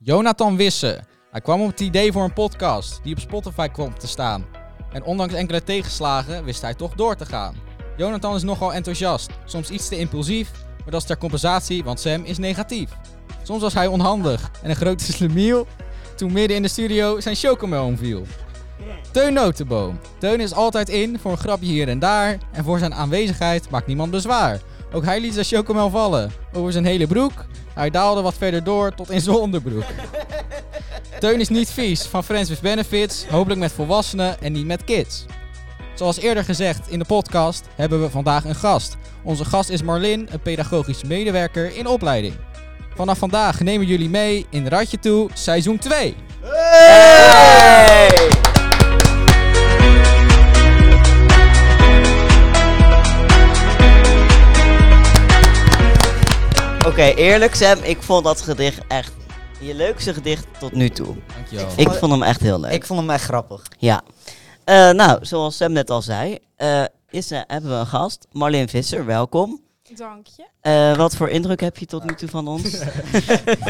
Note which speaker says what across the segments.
Speaker 1: Jonathan Wisse. Hij kwam op het idee voor een podcast die op Spotify kwam te staan. En ondanks enkele tegenslagen wist hij toch door te gaan. Jonathan is nogal enthousiast, soms iets te impulsief, maar dat is ter compensatie, want Sam is negatief. Soms was hij onhandig en een grote slemiel toen midden in de studio zijn chocomel omviel. Teun Notenboom. Teun is altijd in voor een grapje hier en daar en voor zijn aanwezigheid maakt niemand bezwaar. Ook hij liet zijn chocomel vallen, over zijn hele broek. Hij daalde wat verder door tot in zijn onderbroek. Teun is niet vies, van Friends with Benefits, hopelijk met volwassenen en niet met kids. Zoals eerder gezegd in de podcast hebben we vandaag een gast. Onze gast is Marlin, een pedagogisch medewerker in opleiding. Vanaf vandaag nemen jullie mee in Radje Toe, seizoen 2.
Speaker 2: Oké, eerlijk Sam, ik vond dat gedicht echt je leukste gedicht tot nu toe.
Speaker 1: Dankjewel.
Speaker 2: Ik vond hem echt heel leuk.
Speaker 3: Ik vond hem echt grappig.
Speaker 2: Ja. Eh, nou, zoals Sam net al zei, eh, is, eh, hebben we een gast. Marleen Visser, welkom.
Speaker 4: Dank je.
Speaker 2: Eh, wat voor indruk heb je tot nu toe van ons?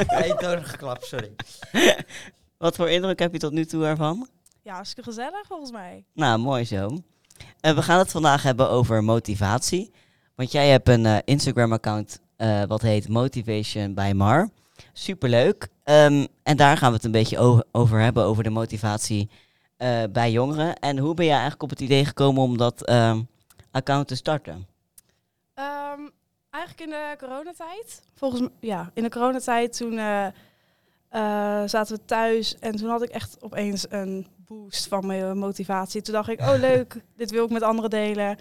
Speaker 3: Nee, doorgeklapt, sorry.
Speaker 2: wat voor indruk heb je tot nu toe ervan?
Speaker 4: Ja, hartstikke gezellig volgens mij.
Speaker 2: Nou, mooi zo. Eh, we gaan het vandaag hebben over motivatie. Want jij hebt een eh, Instagram-account eh, wat heet Motivation by Mar. Superleuk. Ehm, en daar gaan we het een beetje o- over hebben, over de motivatie eh, bij jongeren. En hoe ben jij eigenlijk op het idee gekomen om dat ehm, account te starten?
Speaker 4: Ehm, eigenlijk in de coronatijd. Volgens mij, ja, in de coronatijd toen eh, eh, zaten we thuis en toen had ik echt opeens een boost van mijn motivatie. Toen dacht ik, oh leuk, dit wil ik met anderen delen.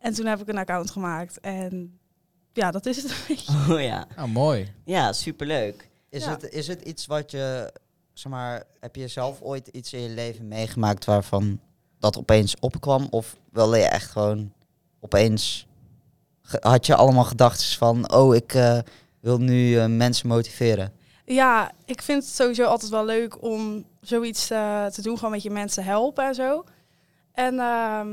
Speaker 4: En toen heb ik een account gemaakt en ja, dat is het een beetje.
Speaker 2: Oh ja.
Speaker 1: Nou, mooi.
Speaker 2: Ja, superleuk.
Speaker 3: Is,
Speaker 4: Ja.
Speaker 3: het, is het iets wat je, zeg maar, heb je zelf ooit iets in je leven meegemaakt waarvan dat opeens opkwam? Of wilde je echt gewoon opeens, ge- had je allemaal gedachten van, oh, ik eh, wil nu eh, mensen motiveren?
Speaker 4: Ja, ik vind het sowieso altijd wel leuk om zoiets eh, te doen, gewoon met je mensen helpen en zo. En ehm,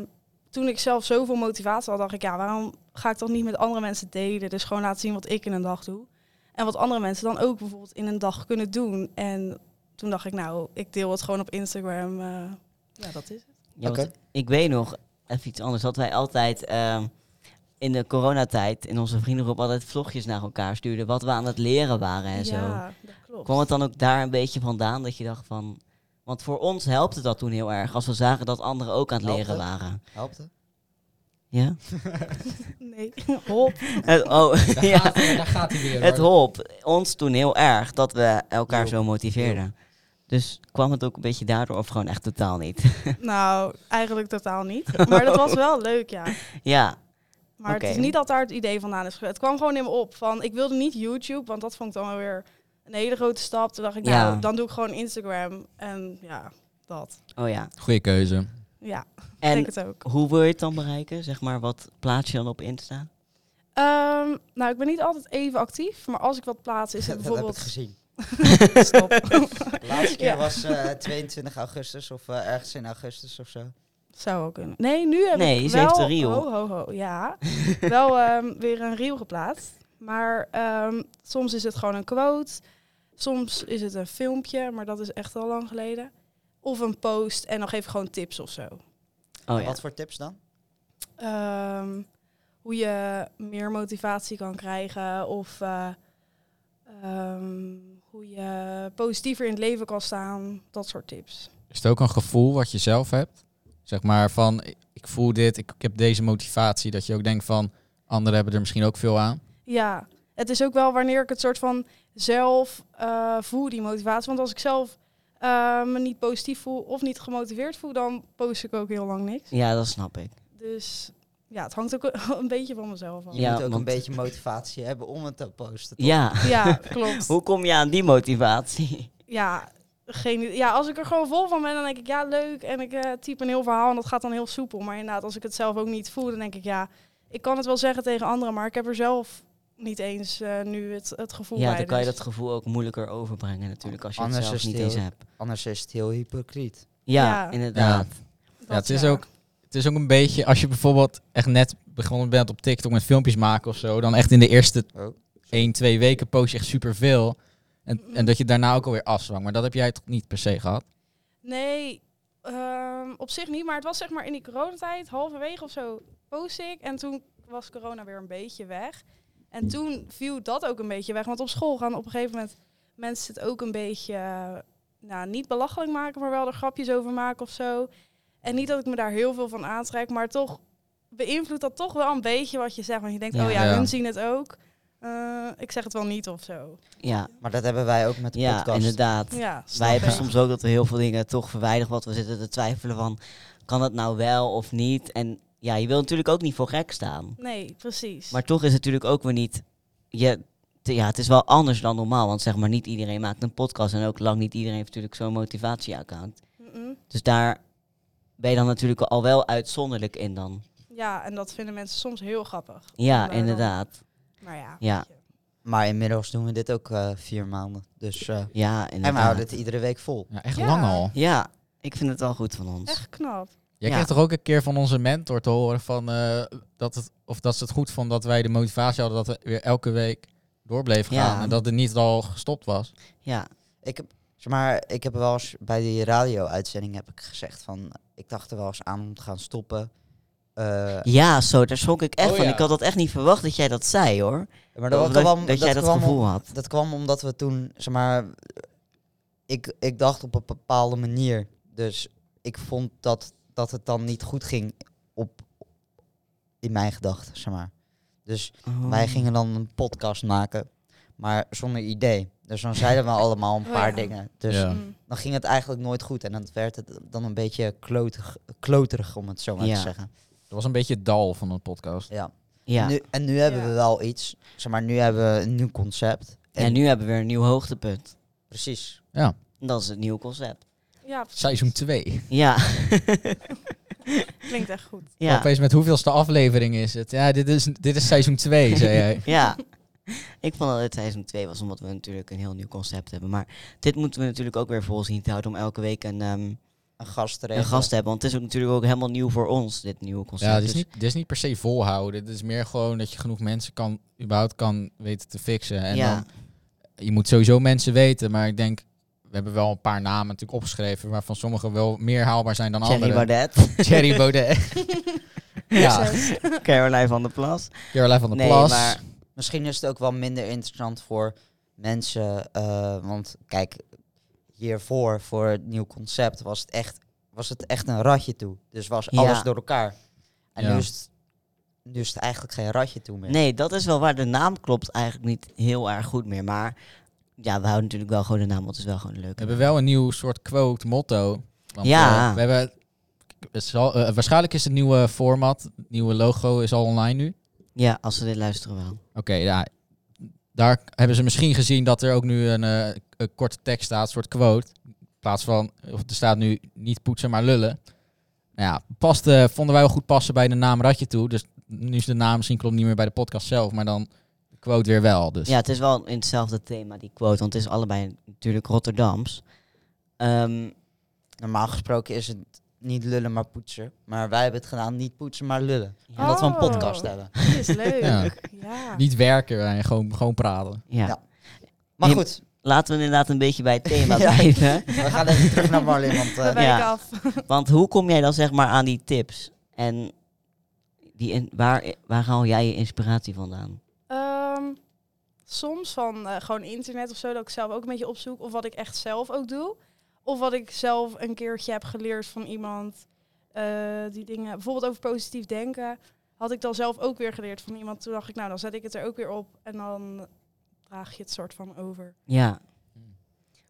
Speaker 4: toen ik zelf zoveel motivatie had, dacht ik, ja, waarom ga ik dat niet met andere mensen delen? Dus gewoon laten zien wat ik in een dag doe. En wat andere mensen dan ook bijvoorbeeld in een dag kunnen doen. En toen dacht ik, nou, ik deel het gewoon op Instagram. eh, ja, dat is het.
Speaker 2: Ja, want
Speaker 3: Oké.
Speaker 2: Ik weet nog, even iets anders, dat wij altijd ehm, in de coronatijd in onze vriendengroep altijd vlogjes naar elkaar stuurden. Wat we aan het leren waren en zo.
Speaker 4: ja, dat klopt.
Speaker 2: Kwam het dan ook daar een beetje vandaan dat je dacht van... Want voor ons helpt het dat toen heel erg, als we zagen dat anderen ook aan het
Speaker 3: Helpt
Speaker 2: leren
Speaker 3: het?
Speaker 2: waren.
Speaker 3: Helpt het?
Speaker 2: Ja?
Speaker 4: Nee, hop.
Speaker 2: Het, oh,
Speaker 1: Daar,
Speaker 2: ja.
Speaker 1: gaat, daar gaat hij weer.
Speaker 2: Het
Speaker 1: hoor.
Speaker 2: hielp ons toen heel erg dat we elkaar
Speaker 3: Hielp.
Speaker 2: zo motiveerden. Dus kwam het ook een beetje daardoor of gewoon echt totaal niet?
Speaker 4: nou, eigenlijk totaal niet. Maar dat was wel leuk, ja.
Speaker 2: ja,
Speaker 4: Maar
Speaker 2: Oké.
Speaker 4: het is niet dat daar het idee vandaan is gekomen. Het kwam gewoon in me op. Van, ik wilde niet YouTube, want dat vond ik dan wel weer een hele grote stap. Toen dacht ik,
Speaker 2: Ja.
Speaker 4: nou, dan doe ik gewoon Instagram. En ja, dat.
Speaker 2: oh ja.
Speaker 1: Goeie keuze.
Speaker 4: Ja, ik
Speaker 2: En
Speaker 4: denk het ook.
Speaker 2: Hoe wil je het dan bereiken? Zeg maar, wat plaats je dan op Insta?
Speaker 4: Ehm, nou, ik ben niet altijd even actief. Maar als ik wat plaats, is het
Speaker 3: Dat heb ik
Speaker 4: bijvoorbeeld...
Speaker 3: gezien.
Speaker 4: Stop.
Speaker 3: De laatste keer
Speaker 4: Ja.
Speaker 3: was eh, 22 augustus of eh, ergens in augustus of
Speaker 2: Oh,
Speaker 3: zo.
Speaker 4: Zou wel kunnen. Nee, nu heb
Speaker 2: Nee,
Speaker 4: ik
Speaker 2: ze
Speaker 4: wel...
Speaker 2: heeft een reel.
Speaker 4: Ho, ho, ho. Ja, wel ehm, weer een reel geplaatst. Maar ehm, soms is het gewoon een quote. Soms is het een filmpje, maar dat is echt al lang geleden. Of een post en dan geef ik gewoon tips of zo.
Speaker 2: Oh ja.
Speaker 3: Wat voor tips dan?
Speaker 4: Ehm, hoe je meer motivatie kan krijgen of eh, ehm, hoe je positiever in het leven kan staan. Dat soort tips.
Speaker 1: Is het ook een gevoel wat je zelf hebt? Zeg maar van, ik- ik voel dit, ik, ik heb deze motivatie. Dat je ook denkt van, anderen hebben er misschien ook veel aan.
Speaker 4: Ja, het is ook wel wanneer ik het soort van zelf eh, voel, die motivatie. Want als ik zelf eh, me niet positief voel of niet gemotiveerd voel, dan post ik ook heel lang niks.
Speaker 2: Ja, dat snap ik.
Speaker 4: Dus ja, het hangt ook een beetje van mezelf af.
Speaker 3: Je
Speaker 2: Ja,
Speaker 3: moet ook
Speaker 2: want-
Speaker 3: een beetje motivatie hebben om het te posten. toch?
Speaker 2: Ja.
Speaker 4: Ja, klopt.
Speaker 2: Hoe kom je aan die motivatie?
Speaker 4: Ja, geen, ja, als ik er gewoon vol van ben, dan denk ik ja, leuk. En ik eh typ een heel verhaal en dat gaat dan heel soepel. Maar inderdaad, als ik het zelf ook niet voel, dan denk ik ja, ik kan het wel zeggen tegen anderen, maar ik heb er zelf niet eens eh, nu het, het gevoel
Speaker 2: Ja,
Speaker 4: bij.
Speaker 2: dan kan je
Speaker 4: dus-
Speaker 2: dat gevoel ook moeilijker overbrengen natuurlijk als je
Speaker 3: Anders
Speaker 2: het
Speaker 3: is
Speaker 2: zelf niet
Speaker 3: het
Speaker 2: eens
Speaker 3: heel-
Speaker 2: hebt.
Speaker 3: Anders is het heel hypocriet.
Speaker 2: Ja,
Speaker 4: Ja.
Speaker 2: inderdaad.
Speaker 4: dat,
Speaker 1: Ja, het is ook- Het is ook een beetje, als je bijvoorbeeld echt net begonnen bent op TikTok met filmpjes maken of zo. Dan echt in de eerste
Speaker 3: Oh.
Speaker 1: 1, 2 weken post je echt superveel. En,
Speaker 4: Mm.
Speaker 1: en dat je daarna ook alweer afzwang. Maar dat heb jij toch niet per se gehad?
Speaker 4: Nee, ehm, op zich niet. Maar het was zeg maar in die coronatijd, halverwege of zo, post ik. En toen was corona weer een beetje weg. En toen viel dat ook een beetje weg. Want op school gaan op een gegeven moment mensen het ook een beetje... eh, nou, niet belachelijk maken, maar wel er grapjes over maken of zo. En niet dat ik me daar heel veel van aantrek, maar toch beïnvloedt dat toch wel een beetje wat je zegt. Want je denkt,
Speaker 2: Ja.
Speaker 4: oh ja,
Speaker 1: Ja.
Speaker 4: hun zien het ook. Eh, ik zeg het wel niet of zo.
Speaker 2: Ja,
Speaker 3: Maar dat hebben wij ook met de
Speaker 2: ja
Speaker 3: podcast.
Speaker 2: inderdaad.
Speaker 4: Ja, snap
Speaker 2: Wij hebben
Speaker 4: ik.
Speaker 2: soms ook dat we heel veel dingen toch verwijderen. Wat we zitten te twijfelen van, kan dat nou wel of niet? En ja, je wil natuurlijk ook niet voor gek staan.
Speaker 4: Nee, precies.
Speaker 2: Maar toch is het natuurlijk ook weer niet... Je, te- ja, het is wel anders dan normaal. Want zeg maar, niet iedereen maakt een podcast. En ook lang niet iedereen heeft natuurlijk zo'n motivatieaccount.
Speaker 4: Mm-mm.
Speaker 2: Dus daar ben je dan natuurlijk al wel uitzonderlijk in dan.
Speaker 4: Ja, en dat vinden mensen soms heel grappig.
Speaker 2: Ja,
Speaker 4: Maar dan-
Speaker 2: inderdaad.
Speaker 4: Maar ja.
Speaker 2: Ja.
Speaker 4: weet je.
Speaker 3: Maar inmiddels doen we dit ook eh, vier maanden. Dus, eh,
Speaker 2: Ja,
Speaker 3: en we houden
Speaker 2: inderdaad.
Speaker 3: het iedere week vol.
Speaker 1: Ja, echt
Speaker 4: Ja.
Speaker 1: lang al.
Speaker 2: Ja, ik vind het wel goed van ons.
Speaker 4: Echt knap.
Speaker 1: Jij
Speaker 2: Ja.
Speaker 1: kreeg toch ook een keer van onze mentor te horen van, eh, dat het, of dat ze het goed vond dat wij de motivatie hadden dat we weer elke week door bleven
Speaker 2: Ja.
Speaker 1: gaan. En dat het niet al gestopt was.
Speaker 2: Ja,
Speaker 3: Ik heb, zeg maar, ik heb wel eens bij die radio-uitzending heb ik gezegd van... Ik dacht er wel eens aan om te gaan stoppen. Eh,
Speaker 2: ja zo, daar schrok ik echt
Speaker 1: Oh,
Speaker 2: van.
Speaker 1: ja.
Speaker 2: Ik had dat echt niet verwacht dat jij dat zei hoor.
Speaker 3: maar
Speaker 2: Dat,
Speaker 3: dat,
Speaker 2: dat,
Speaker 3: kwam,
Speaker 2: dat jij dat
Speaker 3: kwam om-
Speaker 2: gevoel had.
Speaker 3: dat kwam omdat we toen, zeg maar... Ik, ik dacht op een bepaalde manier. Dus ik vond dat, dat het dan niet goed ging op, in mijn gedachten, zeg maar. Dus
Speaker 2: Oh.
Speaker 3: Wij gingen dan een podcast maken, maar zonder idee. Dus dan zeiden we allemaal een
Speaker 4: Oh
Speaker 3: paar
Speaker 4: ja.
Speaker 3: dingen. Dus
Speaker 1: Ja.
Speaker 4: Mm.
Speaker 3: dan ging het eigenlijk nooit goed. En dan werd het dan een beetje klotig, kloterig, om het zo maar
Speaker 2: Ja.
Speaker 3: te zeggen.
Speaker 1: Dat was een beetje het dal van een podcast.
Speaker 3: Ja.
Speaker 2: Ja.
Speaker 3: Nu, en nu hebben
Speaker 4: Ja.
Speaker 3: we wel iets. Zeg maar, nu hebben we een nieuw concept.
Speaker 2: en nu hebben we weer een nieuw hoogtepunt.
Speaker 3: Precies.
Speaker 2: En Dat is het nieuwe concept.
Speaker 4: Ja, precies.
Speaker 1: Seizoen 2.
Speaker 2: Ja.
Speaker 4: klinkt echt goed.
Speaker 1: Ja.
Speaker 2: ja.
Speaker 1: Opeens met hoeveelste aflevering is het? Ja, dit is, dit is seizoen 2, zei jij.
Speaker 2: Ja. Ik vond dat het seizoen 2 was, omdat we natuurlijk een heel nieuw concept hebben. Maar dit moeten we natuurlijk ook weer vol zien te houden om elke week een, ehm,
Speaker 3: Een gast te
Speaker 2: een gast te hebben. Want het is ook natuurlijk ook helemaal nieuw voor ons, dit nieuwe concept.
Speaker 1: Ja, dit is,
Speaker 2: Dus-
Speaker 1: niet, dit is niet per se volhouden. Dit is meer gewoon dat je genoeg mensen kan, überhaupt kan weten te fixen. En
Speaker 2: ja.
Speaker 1: dan, je moet sowieso mensen weten, maar ik denk, we hebben wel een paar namen natuurlijk opgeschreven, waarvan sommige wel meer haalbaar zijn dan
Speaker 2: Thierry
Speaker 1: anderen.
Speaker 2: Baudet,
Speaker 1: Thierry Baudet. ja,
Speaker 4: Succes.
Speaker 2: Caroline van der Plas.
Speaker 1: Caroline van der
Speaker 2: Nee,
Speaker 1: Plas.
Speaker 2: maar
Speaker 3: Misschien is het ook wel minder interessant voor mensen. eh, want kijk, hiervoor, voor het nieuw concept, was het echt, was het echt een ratje toe. Dus was
Speaker 2: Ja.
Speaker 3: alles door elkaar. En
Speaker 1: Ja.
Speaker 3: nu, is het, nu is het eigenlijk geen ratje toe meer.
Speaker 2: nee, dat is wel waar. De naam klopt eigenlijk niet heel erg goed meer. Maar ja, we houden natuurlijk wel gewoon de naam, want het is wel gewoon
Speaker 1: We
Speaker 2: leuk.
Speaker 1: hebben wel een nieuw soort quote, motto. Want,
Speaker 2: Ja.
Speaker 1: eh, we hebben, het zal- eh, waarschijnlijk is het nieuwe format, het nieuwe logo is al online nu.
Speaker 2: Ja, als we dit luisteren wel.
Speaker 1: Oké, ja. Daar hebben ze misschien gezien dat er ook nu een, eh, een korte tekst staat, een soort quote. In plaats van, of er staat nu niet poetsen, maar lullen. Nou ja, past, eh, vonden wij wel goed passen bij de naam Radje toe. Dus nu is de naam misschien klopt niet meer bij de podcast zelf, maar dan de quote weer wel. Dus.
Speaker 2: Ja, het is wel in hetzelfde thema, die quote. Want het is allebei natuurlijk Rotterdams. Ehm,
Speaker 3: Normaal gesproken is het niet lullen, maar poetsen. Maar wij hebben het gedaan, niet poetsen, maar lullen.
Speaker 2: Ja.
Speaker 3: Omdat we een
Speaker 4: Oh.
Speaker 3: podcast hebben.
Speaker 4: Dit is leuk.
Speaker 1: Ja.
Speaker 4: Ja.
Speaker 1: Niet werken en gewoon, gewoon praten.
Speaker 2: ja.
Speaker 3: Ja. Maar
Speaker 2: Je-
Speaker 3: goed,
Speaker 2: Laten we inderdaad een beetje bij het thema
Speaker 3: Ja.
Speaker 2: blijven.
Speaker 3: we gaan even terug naar Marlin. Want
Speaker 4: We
Speaker 3: eh,
Speaker 4: wijken
Speaker 2: ja.
Speaker 4: af.
Speaker 2: Want hoe kom jij dan zeg maar aan die tips? En die in, waar, waar haal jij je inspiratie vandaan?
Speaker 4: Ehm, soms van eh, gewoon internet of zo, dat ik zelf ook een beetje opzoek. Of wat ik echt zelf ook doe. Of wat ik zelf een keertje heb geleerd van iemand. eh, die dingen, bijvoorbeeld over positief denken. Had ik dan zelf ook weer geleerd van iemand. Toen dacht ik, nou, dan zet ik het er ook weer op. En dan draag je het soort van over.
Speaker 2: Ja.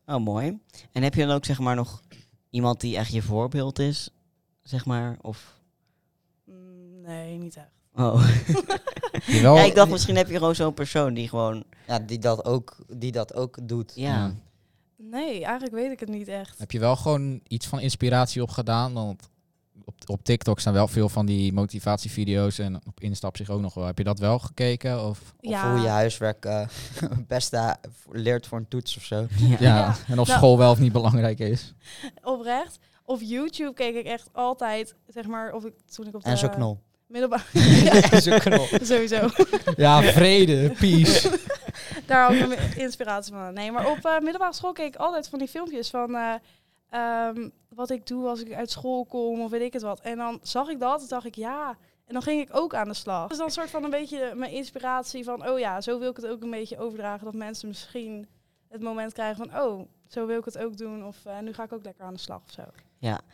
Speaker 2: Oh, mooi. En heb je dan ook zeg maar nog iemand die echt je voorbeeld is? Zeg maar, of...
Speaker 4: Mm, Nee, niet echt.
Speaker 2: Oh.
Speaker 1: Die wel,
Speaker 2: Ja, ik dacht misschien heb je gewoon zo'n persoon die gewoon...
Speaker 3: ja, die, dat ook, die dat ook doet.
Speaker 2: Ja.
Speaker 4: Nee, eigenlijk weet ik het niet echt.
Speaker 1: Hmm. Heb je wel gewoon iets van inspiratie opgedaan? Want op, op TikTok staan wel veel van die motivatievideo's en op Instap zich ook nog wel. Heb je dat wel gekeken? Of,
Speaker 3: Of hoe je huiswerk eh, het beste leert voor een toets of zo.
Speaker 2: Ja.
Speaker 1: ja.
Speaker 4: Ja.
Speaker 1: En of
Speaker 4: Nou-
Speaker 1: school wel of niet belangrijk is?
Speaker 4: oprecht. Op YouTube keek ik echt altijd, zeg maar, of ik, toen ik op de
Speaker 3: En zo knol.
Speaker 4: middelbare...
Speaker 1: Is een knol.
Speaker 4: Sowieso.
Speaker 1: Ja, vrede, peace.
Speaker 4: Daar had ik mijn inspiratie van. Nee, maar op eh, middelbare school keek ik altijd van die filmpjes van eh, ehm, wat ik doe als ik uit school kom of weet ik het wat. En dan zag ik dat en dacht ik ja. En dan ging ik ook aan de slag. Dus dan soort van een beetje mijn inspiratie van oh ja, zo wil ik het ook een beetje overdragen. Dat mensen misschien het moment krijgen van oh, zo wil ik het ook doen. Of eh, nu ga ik ook lekker aan de slag of zo.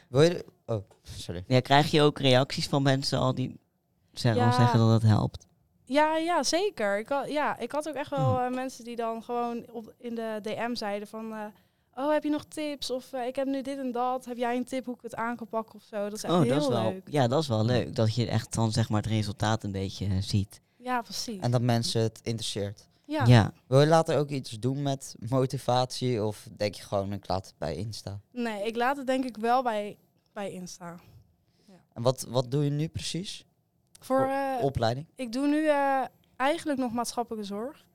Speaker 3: Wil je... de- Oh, sorry.
Speaker 2: Ja, krijg je ook reacties van mensen al die zeggen,
Speaker 4: Ja.
Speaker 2: zeggen dat het helpt?
Speaker 4: Ja, ja, zeker. Ik had, ja, ik had ook echt wel
Speaker 2: Mhm.
Speaker 4: eh, mensen die dan gewoon op, in de DM zeiden van... eh, oh, heb je nog tips? Of eh, ik heb nu dit en dat. Heb jij een tip hoe ik het aan kan pakken of zo? Dat is echt
Speaker 2: oh,
Speaker 4: heel
Speaker 2: dat is wel,
Speaker 4: leuk.
Speaker 2: Ja, dat is wel leuk. Dat je echt dan zeg maar het resultaat een beetje eh, ziet.
Speaker 4: Ja, precies.
Speaker 3: En dat mensen het interesseert.
Speaker 4: ja.
Speaker 2: ja.
Speaker 3: Wil je later ook iets doen met motivatie? Of denk je gewoon, ik laat het bij Insta?
Speaker 4: Nee, ik laat het denk ik wel bij, bij Insta.
Speaker 3: En wat, wat doe je nu precies?
Speaker 4: Voor, eh,
Speaker 3: Opleiding?
Speaker 4: ik doe nu eh, eigenlijk nog maatschappelijke zorg.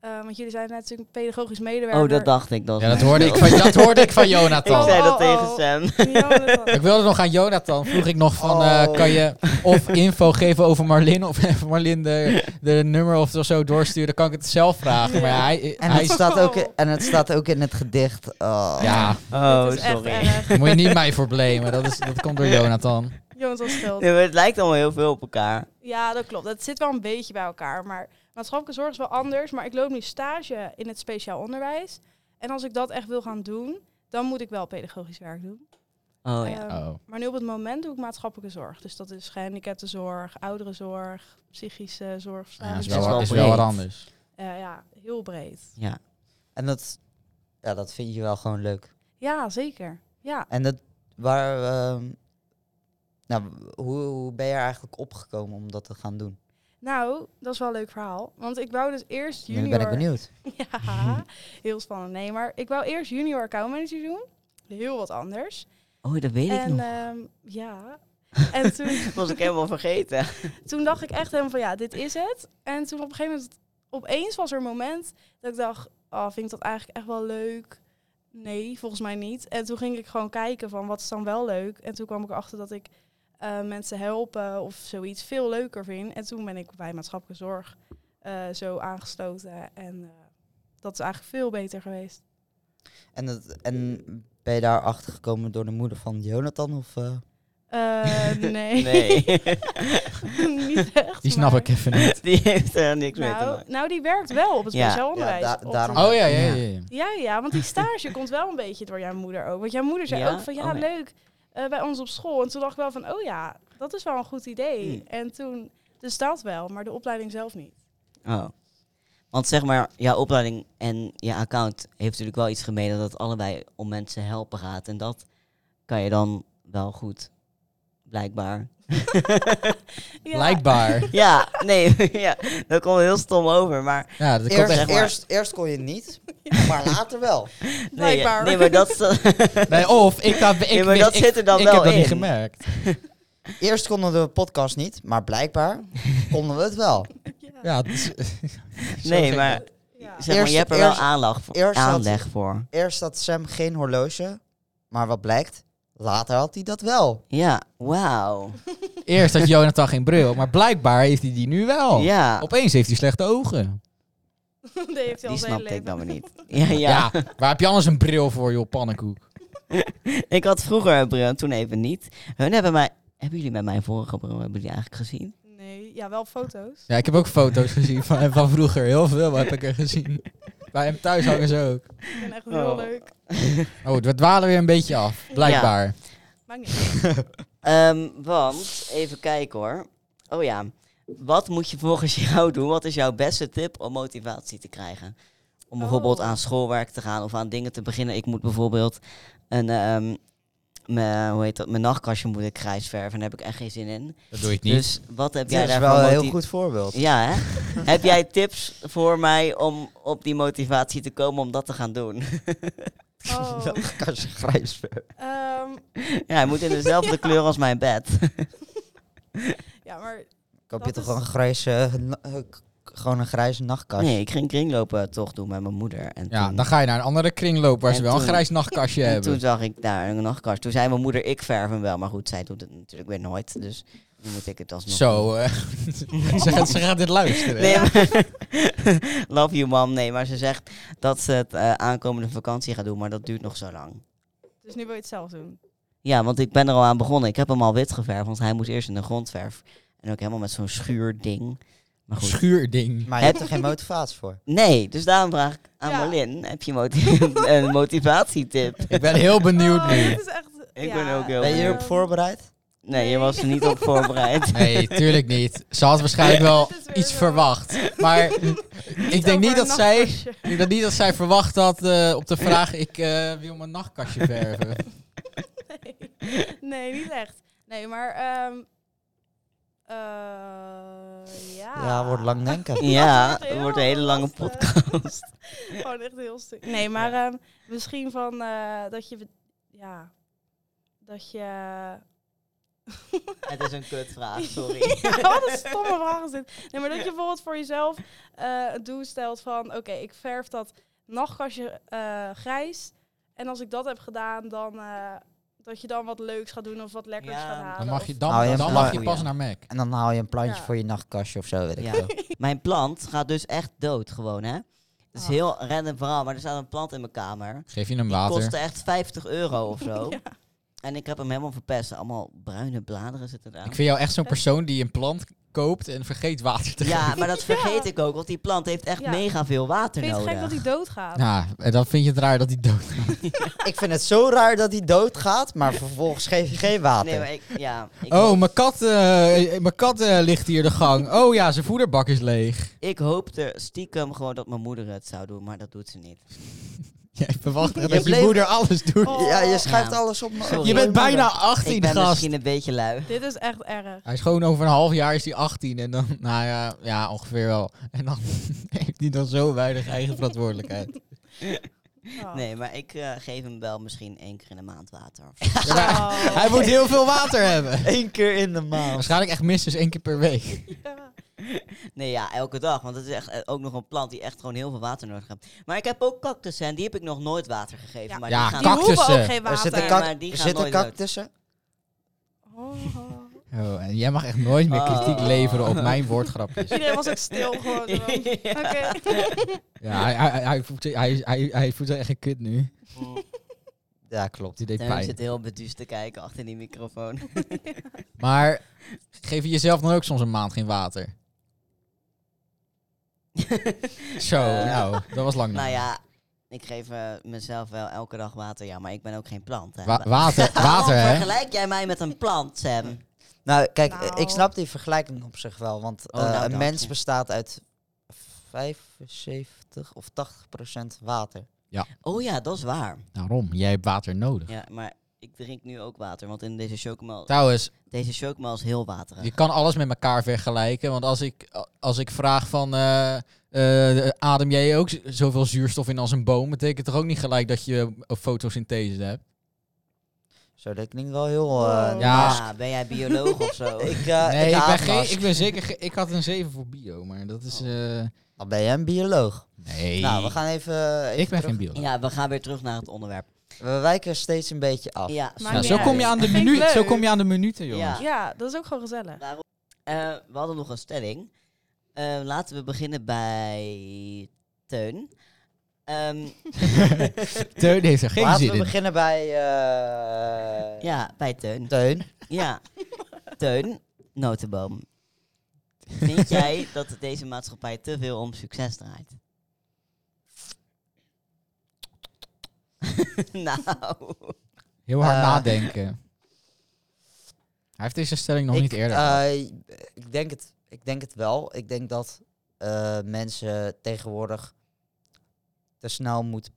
Speaker 4: Eh, want jullie zijn net natuurlijk pedagogisch medewerker.
Speaker 2: Oh, dat dacht ik. Dat
Speaker 1: Ja, dat hoorde ik van, dat hoorde ik van
Speaker 2: Ik
Speaker 1: Jonathan.
Speaker 2: zei dat
Speaker 4: Oh, oh,
Speaker 2: tegen
Speaker 4: oh.
Speaker 2: Sam.
Speaker 4: Ja, dat-
Speaker 1: Ik wilde nog aan Jonathan. Vroeg ik nog van, eh,
Speaker 3: Oh.
Speaker 1: kan je of info geven over Marlin of even Marlin de, de nummer of zo doorsturen? Kan ik het zelf vragen? Maar hij,
Speaker 3: En
Speaker 1: hij
Speaker 3: het,
Speaker 1: is,
Speaker 3: staat ook in, en het staat ook in het gedicht. Oh.
Speaker 1: ja,
Speaker 2: Oh,
Speaker 4: dat is echt erg.
Speaker 1: daar moet je niet mij voor blamen. Dat, is, dat komt door Jonathan.
Speaker 4: Jonathan Schild.
Speaker 2: Nee, maar het lijkt allemaal heel veel op elkaar.
Speaker 4: Ja, dat klopt. Dat zit wel een beetje bij elkaar. Maar maatschappelijke zorg is wel anders. Maar ik loop nu stage in het speciaal onderwijs. En als ik dat echt wil gaan doen, dan moet ik wel pedagogisch werk doen.
Speaker 2: Oh ja.
Speaker 4: Ehm,
Speaker 1: Oh.
Speaker 4: Maar nu op het moment doe ik maatschappelijke zorg. Dus dat is gehandicaptenzorg, ouderenzorg, psychische zorg.
Speaker 1: Ja, is
Speaker 4: verslavings-
Speaker 1: wel, is wel
Speaker 2: breed.
Speaker 1: wat anders.
Speaker 4: Eh, ja, heel breed.
Speaker 2: ja.
Speaker 3: En dat, ja, dat vind je wel gewoon leuk.
Speaker 4: Ja, zeker. Ja.
Speaker 3: En dat, waar, ehm, nou, hoe, hoe ben je er eigenlijk opgekomen om dat te gaan doen?
Speaker 4: Nou, dat is wel een leuk verhaal. Want ik wou dus eerst
Speaker 3: Nu
Speaker 4: junior...
Speaker 3: ben ik benieuwd.
Speaker 4: Ja, heel spannend. Nee, maar ik wou eerst junior accountmanager doen. Heel wat anders.
Speaker 2: Oh, dat weet ik
Speaker 4: en
Speaker 2: nog.
Speaker 4: ehm, ja. En toen,
Speaker 2: Dat was ik helemaal vergeten.
Speaker 4: toen dacht ik echt helemaal van ja, dit is het. En toen op een gegeven moment, opeens was er een moment dat ik dacht, oh, vind ik dat eigenlijk echt wel leuk? Nee, volgens mij niet. En toen ging ik gewoon kijken van wat is dan wel leuk. En toen kwam ik erachter dat ik eh, mensen helpen of zoiets veel leuker vind. En toen ben ik bij maatschappelijke zorg eh, zo aangesloten. En eh, dat is eigenlijk veel beter geweest.
Speaker 3: En, dat, en ben je daar achter gekomen door de moeder van Jonathan? Of, eh?
Speaker 4: Eh, nee.
Speaker 2: Nee.
Speaker 4: niet echt.
Speaker 1: Die snap
Speaker 4: maar-
Speaker 1: ik even niet.
Speaker 2: Die heeft er niks mee te
Speaker 4: Nou,
Speaker 2: maken.
Speaker 4: nou, die werkt wel op het
Speaker 2: Ja.
Speaker 4: speciaal
Speaker 3: Ja,
Speaker 4: onderwijs.
Speaker 3: da-
Speaker 4: op de-
Speaker 3: daarom-
Speaker 1: Oh ja, ja, ja. ja.
Speaker 4: Ja, ja, want die stage komt wel een beetje door jouw moeder ook. Want jouw moeder zei
Speaker 2: Ja?
Speaker 4: ook van, ja,
Speaker 2: Oh, nee.
Speaker 4: leuk, eh, bij ons op school. En toen dacht ik wel van, oh ja, dat is wel een goed idee.
Speaker 2: Hmm.
Speaker 4: En toen, dus dat wel, maar de opleiding zelf niet.
Speaker 2: Oh. Want zeg maar, jouw opleiding en je account heeft natuurlijk wel iets gemeen dat het allebei om mensen helpen gaat. En dat kan je dan wel goed, blijkbaar.
Speaker 4: Ja,
Speaker 1: Blijkbaar.
Speaker 2: Ja, nee, ja, dat komt heel stom over. Maar
Speaker 1: Ja, dat komt
Speaker 3: eerst,
Speaker 1: echt.
Speaker 2: zeg maar-
Speaker 3: eerst, eerst kon je het niet, maar later wel.
Speaker 2: nee,
Speaker 4: Blijkbaar.
Speaker 2: nee, maar dat, is dan-
Speaker 1: Nee, of ik, dat, ik,
Speaker 2: nee, maar
Speaker 1: wist-
Speaker 2: dat
Speaker 1: ik,
Speaker 2: zit er dan
Speaker 1: ik
Speaker 2: wel
Speaker 1: heb dat
Speaker 2: in.
Speaker 1: niet gemerkt.
Speaker 3: Eerst konden we de podcast niet, maar blijkbaar konden we het wel.
Speaker 4: ja.
Speaker 1: Ja, het is- Zo
Speaker 2: Nee,
Speaker 1: gek.
Speaker 2: maar
Speaker 4: Ja.
Speaker 2: zeg maar,
Speaker 3: Eerst-
Speaker 2: je hebt er wel
Speaker 3: eerst-
Speaker 2: aanleg voor.
Speaker 3: eerst had-
Speaker 2: aanleg voor.
Speaker 3: Eerst had Sam geen horloge, maar wat blijkt, later had hij dat wel.
Speaker 2: Ja, wauw.
Speaker 1: Eerst had Jonathan geen bril, maar blijkbaar heeft hij die nu wel.
Speaker 3: Oh.
Speaker 2: Ja,
Speaker 1: Opeens heeft hij slechte ogen.
Speaker 4: Die heeft hij
Speaker 2: die
Speaker 4: al zijn hele
Speaker 2: snapte ik
Speaker 4: leven.
Speaker 2: dan weer niet. Ja, ja.
Speaker 1: Ja. waar heb je anders een bril voor, joh, pannenkoek?
Speaker 2: Ik had vroeger een bril, toen even niet. Hun hebben mij... Hebben jullie met mijn vorige bril, hebben jullie eigenlijk gezien?
Speaker 4: Nee, ja, wel foto's.
Speaker 1: Ja, ik heb ook foto's gezien van hem van vroeger. Heel veel heb ik er gezien. Bij hem thuis hangen ze ook.
Speaker 4: Ik vind echt heel
Speaker 2: Oh.
Speaker 4: leuk.
Speaker 1: Oh, we dwalen weer een beetje af. Blijkbaar.
Speaker 4: Maakt niet uit.
Speaker 2: Ehm, want, even kijken hoor. Oh ja, wat moet je volgens jou doen? Wat is jouw beste tip om motivatie te krijgen? Om bijvoorbeeld
Speaker 4: Oh.
Speaker 2: aan schoolwerk te gaan of aan dingen te beginnen. Ik moet bijvoorbeeld een... ehm, me- hoe heet dat? Mijn nachtkastje moet ik grijs verven. Daar heb ik echt geen zin in.
Speaker 1: Dat doe ik niet.
Speaker 2: Dus wat heb
Speaker 3: Dat
Speaker 2: jij
Speaker 3: is
Speaker 2: daar
Speaker 3: wel
Speaker 2: voor
Speaker 3: een
Speaker 2: moti-
Speaker 3: heel goed voorbeeld.
Speaker 2: Ja, hè? Heb jij tips voor mij om op die motivatie te komen om dat te gaan doen?
Speaker 4: Oh.
Speaker 3: Kastje grijs verf.
Speaker 4: Ehm,
Speaker 2: ja, hij moet in dezelfde kleur als mijn bed.
Speaker 4: ja, maar
Speaker 3: Koop je
Speaker 4: Dat
Speaker 3: toch
Speaker 4: is-
Speaker 3: gewoon een grijze, eh, eh, k- gewoon een grijze nachtkastje?
Speaker 2: Nee, ik ging kringlopen toch doen met mijn moeder. En
Speaker 1: Ja,
Speaker 2: toen,
Speaker 1: dan ga je naar een andere kringloop waar ze
Speaker 2: En
Speaker 1: wel een
Speaker 2: toen-
Speaker 1: grijs nachtkastje
Speaker 2: en toen
Speaker 1: hebben.
Speaker 2: zag ik daar een nachtkast. Toen zei mijn moeder, ik verf hem wel. Maar goed, zij doet het natuurlijk weer nooit. Dus Nu moet ik het alsnog doen.
Speaker 1: Zo, eh, ze, gaat, ze gaat dit luisteren.
Speaker 2: Nee, maar- Love you, mom. Nee, maar ze zegt dat ze het eh, aankomende vakantie gaat doen, maar dat duurt nog zo lang.
Speaker 4: Dus nu wil je het zelf doen.
Speaker 2: Ja, want ik ben er al aan begonnen. Ik heb hem al wit geverfd, want hij moest eerst in de grondverf. En ook helemaal met zo'n schuurding. Maar goed.
Speaker 1: Schuurding.
Speaker 3: Maar je hebt er geen motivatie voor.
Speaker 2: Nee, dus daarom vraag ik aan
Speaker 4: Ja.
Speaker 2: Marlin, heb je moti- een motivatietip?
Speaker 1: Ik ben heel benieuwd
Speaker 4: Oh,
Speaker 1: nu.
Speaker 4: dit is echt,
Speaker 2: Ik
Speaker 4: ja.
Speaker 2: ben ook heel
Speaker 3: Ben je hierop
Speaker 4: Ehm,
Speaker 3: voorbereid?
Speaker 2: Nee, je was er niet op voorbereid.
Speaker 1: Nee, tuurlijk niet. Ze had waarschijnlijk wel
Speaker 4: Dit is weer
Speaker 1: iets
Speaker 4: zo.
Speaker 1: verwacht. Maar ik denk
Speaker 4: over
Speaker 1: niet
Speaker 4: een
Speaker 1: dat zij,
Speaker 4: nachtkastje.
Speaker 1: ik denk niet dat zij verwacht had eh, op de vraag: ik eh, wil mijn nachtkastje verven.
Speaker 4: Nee. nee, niet echt. Nee, maar... ehm, eh, ja.
Speaker 3: Ja, wordt lang denken.
Speaker 2: Ja, het
Speaker 4: Dat wordt heel
Speaker 2: wordt een hele lange
Speaker 4: lastig.
Speaker 2: podcast.
Speaker 4: Gewoon echt heel stuk. Nee, maar ehm, misschien van eh, dat je... Ja, dat je...
Speaker 2: Het is een kutvraag, Ah, sorry.
Speaker 4: ja, wat een stomme vraag is dit. Nee, maar dat je bijvoorbeeld voor jezelf eh een doel stelt van... Oké, ik verf dat nachtkastje eh, grijs. En als ik dat heb gedaan, dan... eh, dat je dan wat leuks gaat doen of wat lekkers
Speaker 2: Ja.
Speaker 4: gaat halen.
Speaker 1: Dan mag je,
Speaker 4: of-
Speaker 1: dan,
Speaker 3: Nou, ja,
Speaker 1: dan
Speaker 3: maar-
Speaker 1: mag je pas naar Mac.
Speaker 3: En dan haal je een plantje
Speaker 4: Ja.
Speaker 3: voor je nachtkastje of zo, weet ik
Speaker 2: Ja.
Speaker 3: veel.
Speaker 2: Mijn plant gaat dus echt dood gewoon, hè? Het is
Speaker 4: Ah.
Speaker 2: heel random verhaal, maar er staat een plant in mijn kamer.
Speaker 1: Geef je hem
Speaker 2: Kostte
Speaker 1: water.
Speaker 2: echt 50 euro of zo.
Speaker 4: Ja.
Speaker 2: En ik heb hem helemaal verpest. Allemaal bruine bladeren zitten daar.
Speaker 1: Ik vind jou echt zo'n persoon die een plant koopt en vergeet water te
Speaker 2: Ja,
Speaker 1: geven.
Speaker 2: maar dat vergeet ik ook, want die plant heeft echt
Speaker 4: Ja.
Speaker 2: mega veel water
Speaker 4: Vind je het gek dat
Speaker 2: nodig.
Speaker 4: hij doodgaat?
Speaker 1: Ja, Nou, en dan vind je het raar dat hij dood is.
Speaker 3: Ik vind het zo raar dat hij doodgaat, maar vervolgens geef je geen water.
Speaker 2: Nee, maar ik, ja, ik,
Speaker 1: Oh,
Speaker 2: hoop,
Speaker 1: mijn kat, eh, eh, mijn kat eh, ligt hier de gang. Oh ja, zijn voederbak is leeg.
Speaker 2: ik hoopte stiekem gewoon dat mijn moeder het zou doen, maar dat doet ze niet.
Speaker 1: Jij verwacht echt
Speaker 3: Je
Speaker 1: dat je
Speaker 3: bleef-
Speaker 1: moeder alles doet.
Speaker 4: Oh.
Speaker 3: Ja, je schrijft
Speaker 2: Ja.
Speaker 3: alles op.
Speaker 2: Sorry.
Speaker 1: Je bent bijna
Speaker 2: Ik
Speaker 1: 18,
Speaker 2: ben
Speaker 1: gast.
Speaker 2: misschien een beetje lui.
Speaker 4: Dit is echt erg.
Speaker 1: Hij is gewoon over een half jaar is hij 18 en dan, nou ja, ja ongeveer wel. En dan heeft hij dan zo weinig eigen verantwoordelijkheid.
Speaker 4: Ja.
Speaker 2: Nee, maar ik eh, geef hem wel misschien één keer in de maand water. Of
Speaker 1: Ja,
Speaker 2: zo.
Speaker 1: maar
Speaker 4: Oh.
Speaker 1: hij moet heel veel water hebben.
Speaker 3: Eén keer in de maand.
Speaker 1: Waarschijnlijk echt minstens één keer per week.
Speaker 4: Ja.
Speaker 2: nee, ja, elke dag. Want het is echt eh, ook nog een plant die echt gewoon heel veel water nodig heeft. Maar maar ik heb ook cactussen en die heb ik nog nooit water gegeven.
Speaker 4: Ja.
Speaker 2: maar
Speaker 1: Ja,
Speaker 2: die
Speaker 4: Die
Speaker 2: gaan...
Speaker 1: Cactussen.
Speaker 4: hoeven ook geen
Speaker 3: Er
Speaker 4: water.
Speaker 3: zit een
Speaker 2: kak-
Speaker 3: kak,
Speaker 2: maar die
Speaker 3: er
Speaker 2: gaan
Speaker 3: zit een
Speaker 2: nooit dood.
Speaker 3: kak tussen.
Speaker 4: Oh, oh.
Speaker 1: Oh, en jij mag echt nooit meer kritiek
Speaker 2: Oh.
Speaker 1: leveren op mijn woordgrapjes.
Speaker 4: Iedereen was ook stil gewoon. zo. Oké.
Speaker 1: Ja, hij, hij, hij, voelt, zich- hij, hij, hij voelt zich echt een kut nu.
Speaker 3: Ja, klopt.
Speaker 1: Die deed
Speaker 2: Ik
Speaker 1: pijn.
Speaker 2: zit heel beduusd te kijken achter die microfoon.
Speaker 1: Maar geef je jezelf dan ook soms een maand geen water? Zo,
Speaker 2: Eh,
Speaker 1: nou, dat was lang
Speaker 2: Nou
Speaker 1: niet.
Speaker 2: ja, ik geef eh, mezelf wel elke dag water. Ja, maar ik ben ook geen plant. Hè.
Speaker 1: Wa- water,
Speaker 2: Waarom
Speaker 1: water hè?
Speaker 2: vergelijk jij mij met een plant, Sam?
Speaker 3: Nou, kijk,
Speaker 4: Nou.
Speaker 3: ik snap die vergelijking op zich wel. Want
Speaker 2: Oh,
Speaker 3: eh,
Speaker 2: nou,
Speaker 3: een
Speaker 2: dank
Speaker 3: mens
Speaker 2: je.
Speaker 3: bestaat uit 75 of 80 procent water.
Speaker 2: Oh ja, dat is waar.
Speaker 1: Daarom, Nou, jij hebt water nodig.
Speaker 2: Ja, maar ik drink nu ook water, want in deze chocomel,
Speaker 1: Trouwens,
Speaker 2: deze chocomel is heel waterig.
Speaker 1: Je kan alles met elkaar vergelijken. Want als ik, als ik vraag van... eh, eh, adem jij ook z- zoveel zuurstof in als een boom? Betekent toch ook niet gelijk dat je fotosynthese hebt?
Speaker 3: Zo, dat klinkt wel heel... eh,
Speaker 4: Wow.
Speaker 1: Ja.
Speaker 2: Ja, ben jij bioloog of zo?
Speaker 3: Ik, eh,
Speaker 1: nee, ik, ben
Speaker 3: haat
Speaker 1: geen,
Speaker 3: gas.
Speaker 1: ik ben zeker... ge- ik had een 7 voor bio, maar dat is... eh,
Speaker 3: Dan ben jij een bioloog.
Speaker 1: nee,
Speaker 3: Nou, we gaan even... even
Speaker 1: ik ben
Speaker 3: terug.
Speaker 1: geen bio.
Speaker 2: Ja, we gaan weer terug naar het onderwerp.
Speaker 3: We wijken steeds een beetje af.
Speaker 2: Ja,
Speaker 4: Maar
Speaker 1: Nou,
Speaker 4: niet
Speaker 1: zo, kom je
Speaker 4: uit.
Speaker 1: aan de
Speaker 4: Vind ik
Speaker 1: minuut, zo
Speaker 4: leuk.
Speaker 1: kom je aan de minuten, jongens.
Speaker 2: Ja.
Speaker 4: Ja, dat is ook gewoon gezellig.
Speaker 2: Waarom- Eh, we hadden nog een stelling. Eh, laten we beginnen bij Teun. Ehm,
Speaker 1: Teun heeft er geen
Speaker 3: Laten
Speaker 1: zin
Speaker 3: we
Speaker 1: in.
Speaker 3: beginnen bij... eh
Speaker 2: ja, bij Teun.
Speaker 3: Teun.
Speaker 2: Ja, Teun, notenboom. Vind jij dat deze maatschappij te veel om succes draait? nou,
Speaker 1: Heel hard
Speaker 3: Eh,
Speaker 1: nadenken. Hij heeft deze stelling nog
Speaker 3: ik,
Speaker 1: niet eerder.
Speaker 3: eh,
Speaker 1: gehad.
Speaker 3: ik, denk het, ik denk het wel. Ik denk dat eh, mensen tegenwoordig te snel moeten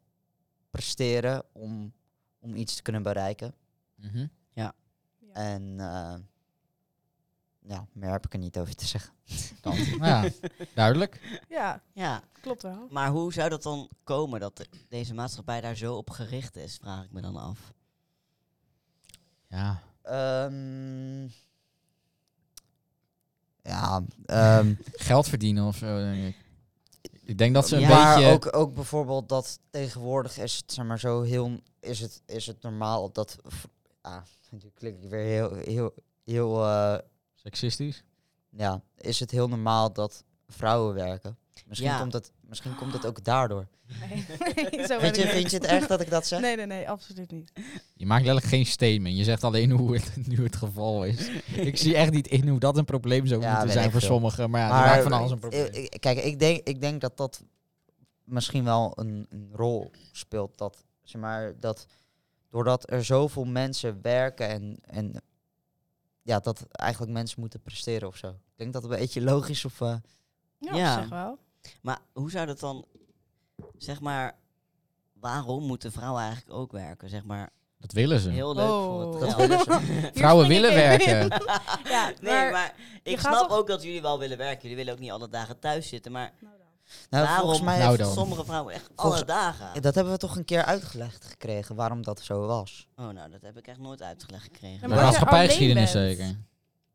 Speaker 3: presteren om, om iets te kunnen bereiken.
Speaker 1: Mhm.
Speaker 3: En eh, ja, meer heb ik er niet over te zeggen.
Speaker 1: Kant. Nou ja, duidelijk.
Speaker 4: Ja,
Speaker 2: ja,
Speaker 4: klopt wel.
Speaker 2: maar hoe zou dat dan komen dat de- deze maatschappij daar zo op gericht is, vraag ik me dan af.
Speaker 1: Ja.
Speaker 3: Ehm, ja, ehm,
Speaker 1: geld verdienen of zo, denk ik. Ik denk dat ze een
Speaker 2: Ja.
Speaker 3: maar
Speaker 1: beetje...
Speaker 3: ook, ook bijvoorbeeld dat tegenwoordig is het, zeg maar, zo heel, is het, is het normaal dat, v- ah, nu klinkt ik weer heel, heel, heel, eh,
Speaker 1: Sexistisch?
Speaker 3: Ja, is het heel normaal dat vrouwen werken? Misschien,
Speaker 2: Ja.
Speaker 3: komt, dat, misschien komt dat ook daardoor.
Speaker 4: Nee, nee zo ben
Speaker 3: Vind je,
Speaker 4: ik
Speaker 3: vind
Speaker 4: niet.
Speaker 3: je het erg dat ik dat zeg?
Speaker 4: Nee, nee, nee, absoluut niet.
Speaker 1: Je maakt letterlijk geen statement. Je zegt alleen hoe het nu het geval is. Ik zie echt niet in hoe dat een probleem zou
Speaker 3: Ja,
Speaker 1: moeten
Speaker 3: weet
Speaker 1: zijn
Speaker 3: ik
Speaker 1: voor
Speaker 3: veel.
Speaker 1: sommigen. Maar ja, die maakt van alles een probleem.
Speaker 3: ik- ik- eh, Kijk, ik denk, ik denk dat dat misschien wel een, een rol speelt. Dat, zeg maar, dat doordat er zoveel mensen werken en, en ja, dat eigenlijk mensen moeten presteren of zo. Ik denk dat het een beetje logisch of... eh,
Speaker 4: Ja,
Speaker 2: Ja.
Speaker 4: op zich wel.
Speaker 2: Maar hoe zou dat dan, zeg maar, waarom moeten vrouwen eigenlijk ook werken? Zeg maar,
Speaker 1: Dat willen ze.
Speaker 2: heel leuk voor
Speaker 4: Oh.
Speaker 2: het
Speaker 3: dat
Speaker 2: geld. Dus-
Speaker 3: willen ze.
Speaker 4: Hier
Speaker 1: Vrouwen
Speaker 4: spring ik
Speaker 1: willen
Speaker 4: even in.
Speaker 1: werken.
Speaker 4: Ja,
Speaker 2: Nee, maar ik
Speaker 4: gaat
Speaker 2: snap
Speaker 4: toch-
Speaker 2: ook dat jullie wel willen werken. Jullie willen ook niet alle dagen thuis zitten. Maar
Speaker 4: Nou dan.
Speaker 3: Nou, volgens
Speaker 2: waarom
Speaker 3: mij
Speaker 1: Nou
Speaker 3: heeft-
Speaker 1: dan.
Speaker 2: sommige vrouwen echt
Speaker 3: Volgens-
Speaker 2: alle dagen?
Speaker 3: Dat hebben we toch een keer uitgelegd gekregen, waarom dat zo was.
Speaker 2: Oh, nou, dat heb ik echt nooit uitgelegd
Speaker 4: Ja,
Speaker 2: gekregen.
Speaker 1: De
Speaker 4: maar als je
Speaker 1: maatschappijgeschiedenis
Speaker 4: alleen bent.
Speaker 1: zeker.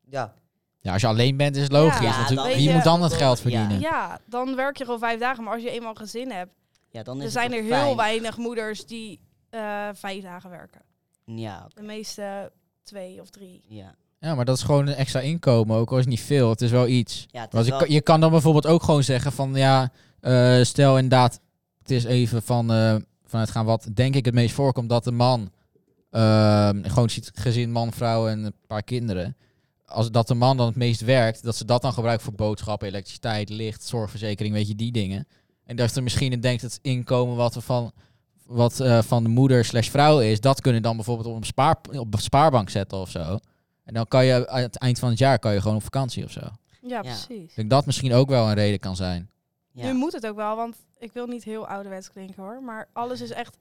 Speaker 3: Ja,
Speaker 1: Ja, als je alleen bent is het logisch.
Speaker 4: Ja,
Speaker 1: natuurlijk.
Speaker 4: dan-
Speaker 1: Wie
Speaker 4: weet
Speaker 1: moet
Speaker 4: je-
Speaker 1: dan het geld
Speaker 2: Ja.
Speaker 1: verdienen?
Speaker 4: Ja, dan werk je gewoon vijf dagen. Maar als je eenmaal een gezin hebt,
Speaker 2: Ja, dan is
Speaker 4: er
Speaker 2: het
Speaker 4: zijn
Speaker 2: toch
Speaker 4: er heel
Speaker 2: fijn.
Speaker 4: weinig moeders die eh, vijf dagen werken.
Speaker 2: Ja,
Speaker 4: De meeste twee of drie.
Speaker 2: ja.
Speaker 1: Ja, maar dat is gewoon een extra inkomen. Ook al is het niet veel, het is wel iets.
Speaker 2: ja het
Speaker 1: Want
Speaker 2: is
Speaker 1: je,
Speaker 2: wel-
Speaker 1: kan- je kan dan bijvoorbeeld ook gewoon zeggen van ja, eh, stel inderdaad, het is even van, eh, vanuit gaan wat denk ik het meest voorkomt dat de man ehm, gewoon ziet gezin, man, vrouw en een paar kinderen. Als dat de man dan het meest werkt, dat ze dat dan gebruiken voor boodschappen, elektriciteit, licht, zorgverzekering, weet je, die dingen. En dat er misschien in denkt het inkomen wat er van, wat, eh, van de moeder slash vrouw is, dat kunnen dan bijvoorbeeld op een, spaar, op een spaarbank zetten of zo. En dan kan je aan het eind van het jaar kan je gewoon op vakantie of zo.
Speaker 4: Ja, precies.
Speaker 1: Ik denk dat misschien ook wel een reden kan zijn.
Speaker 2: ja.
Speaker 4: Nu moet het ook wel, want ik wil niet heel ouderwets klinken hoor. Maar alles is echt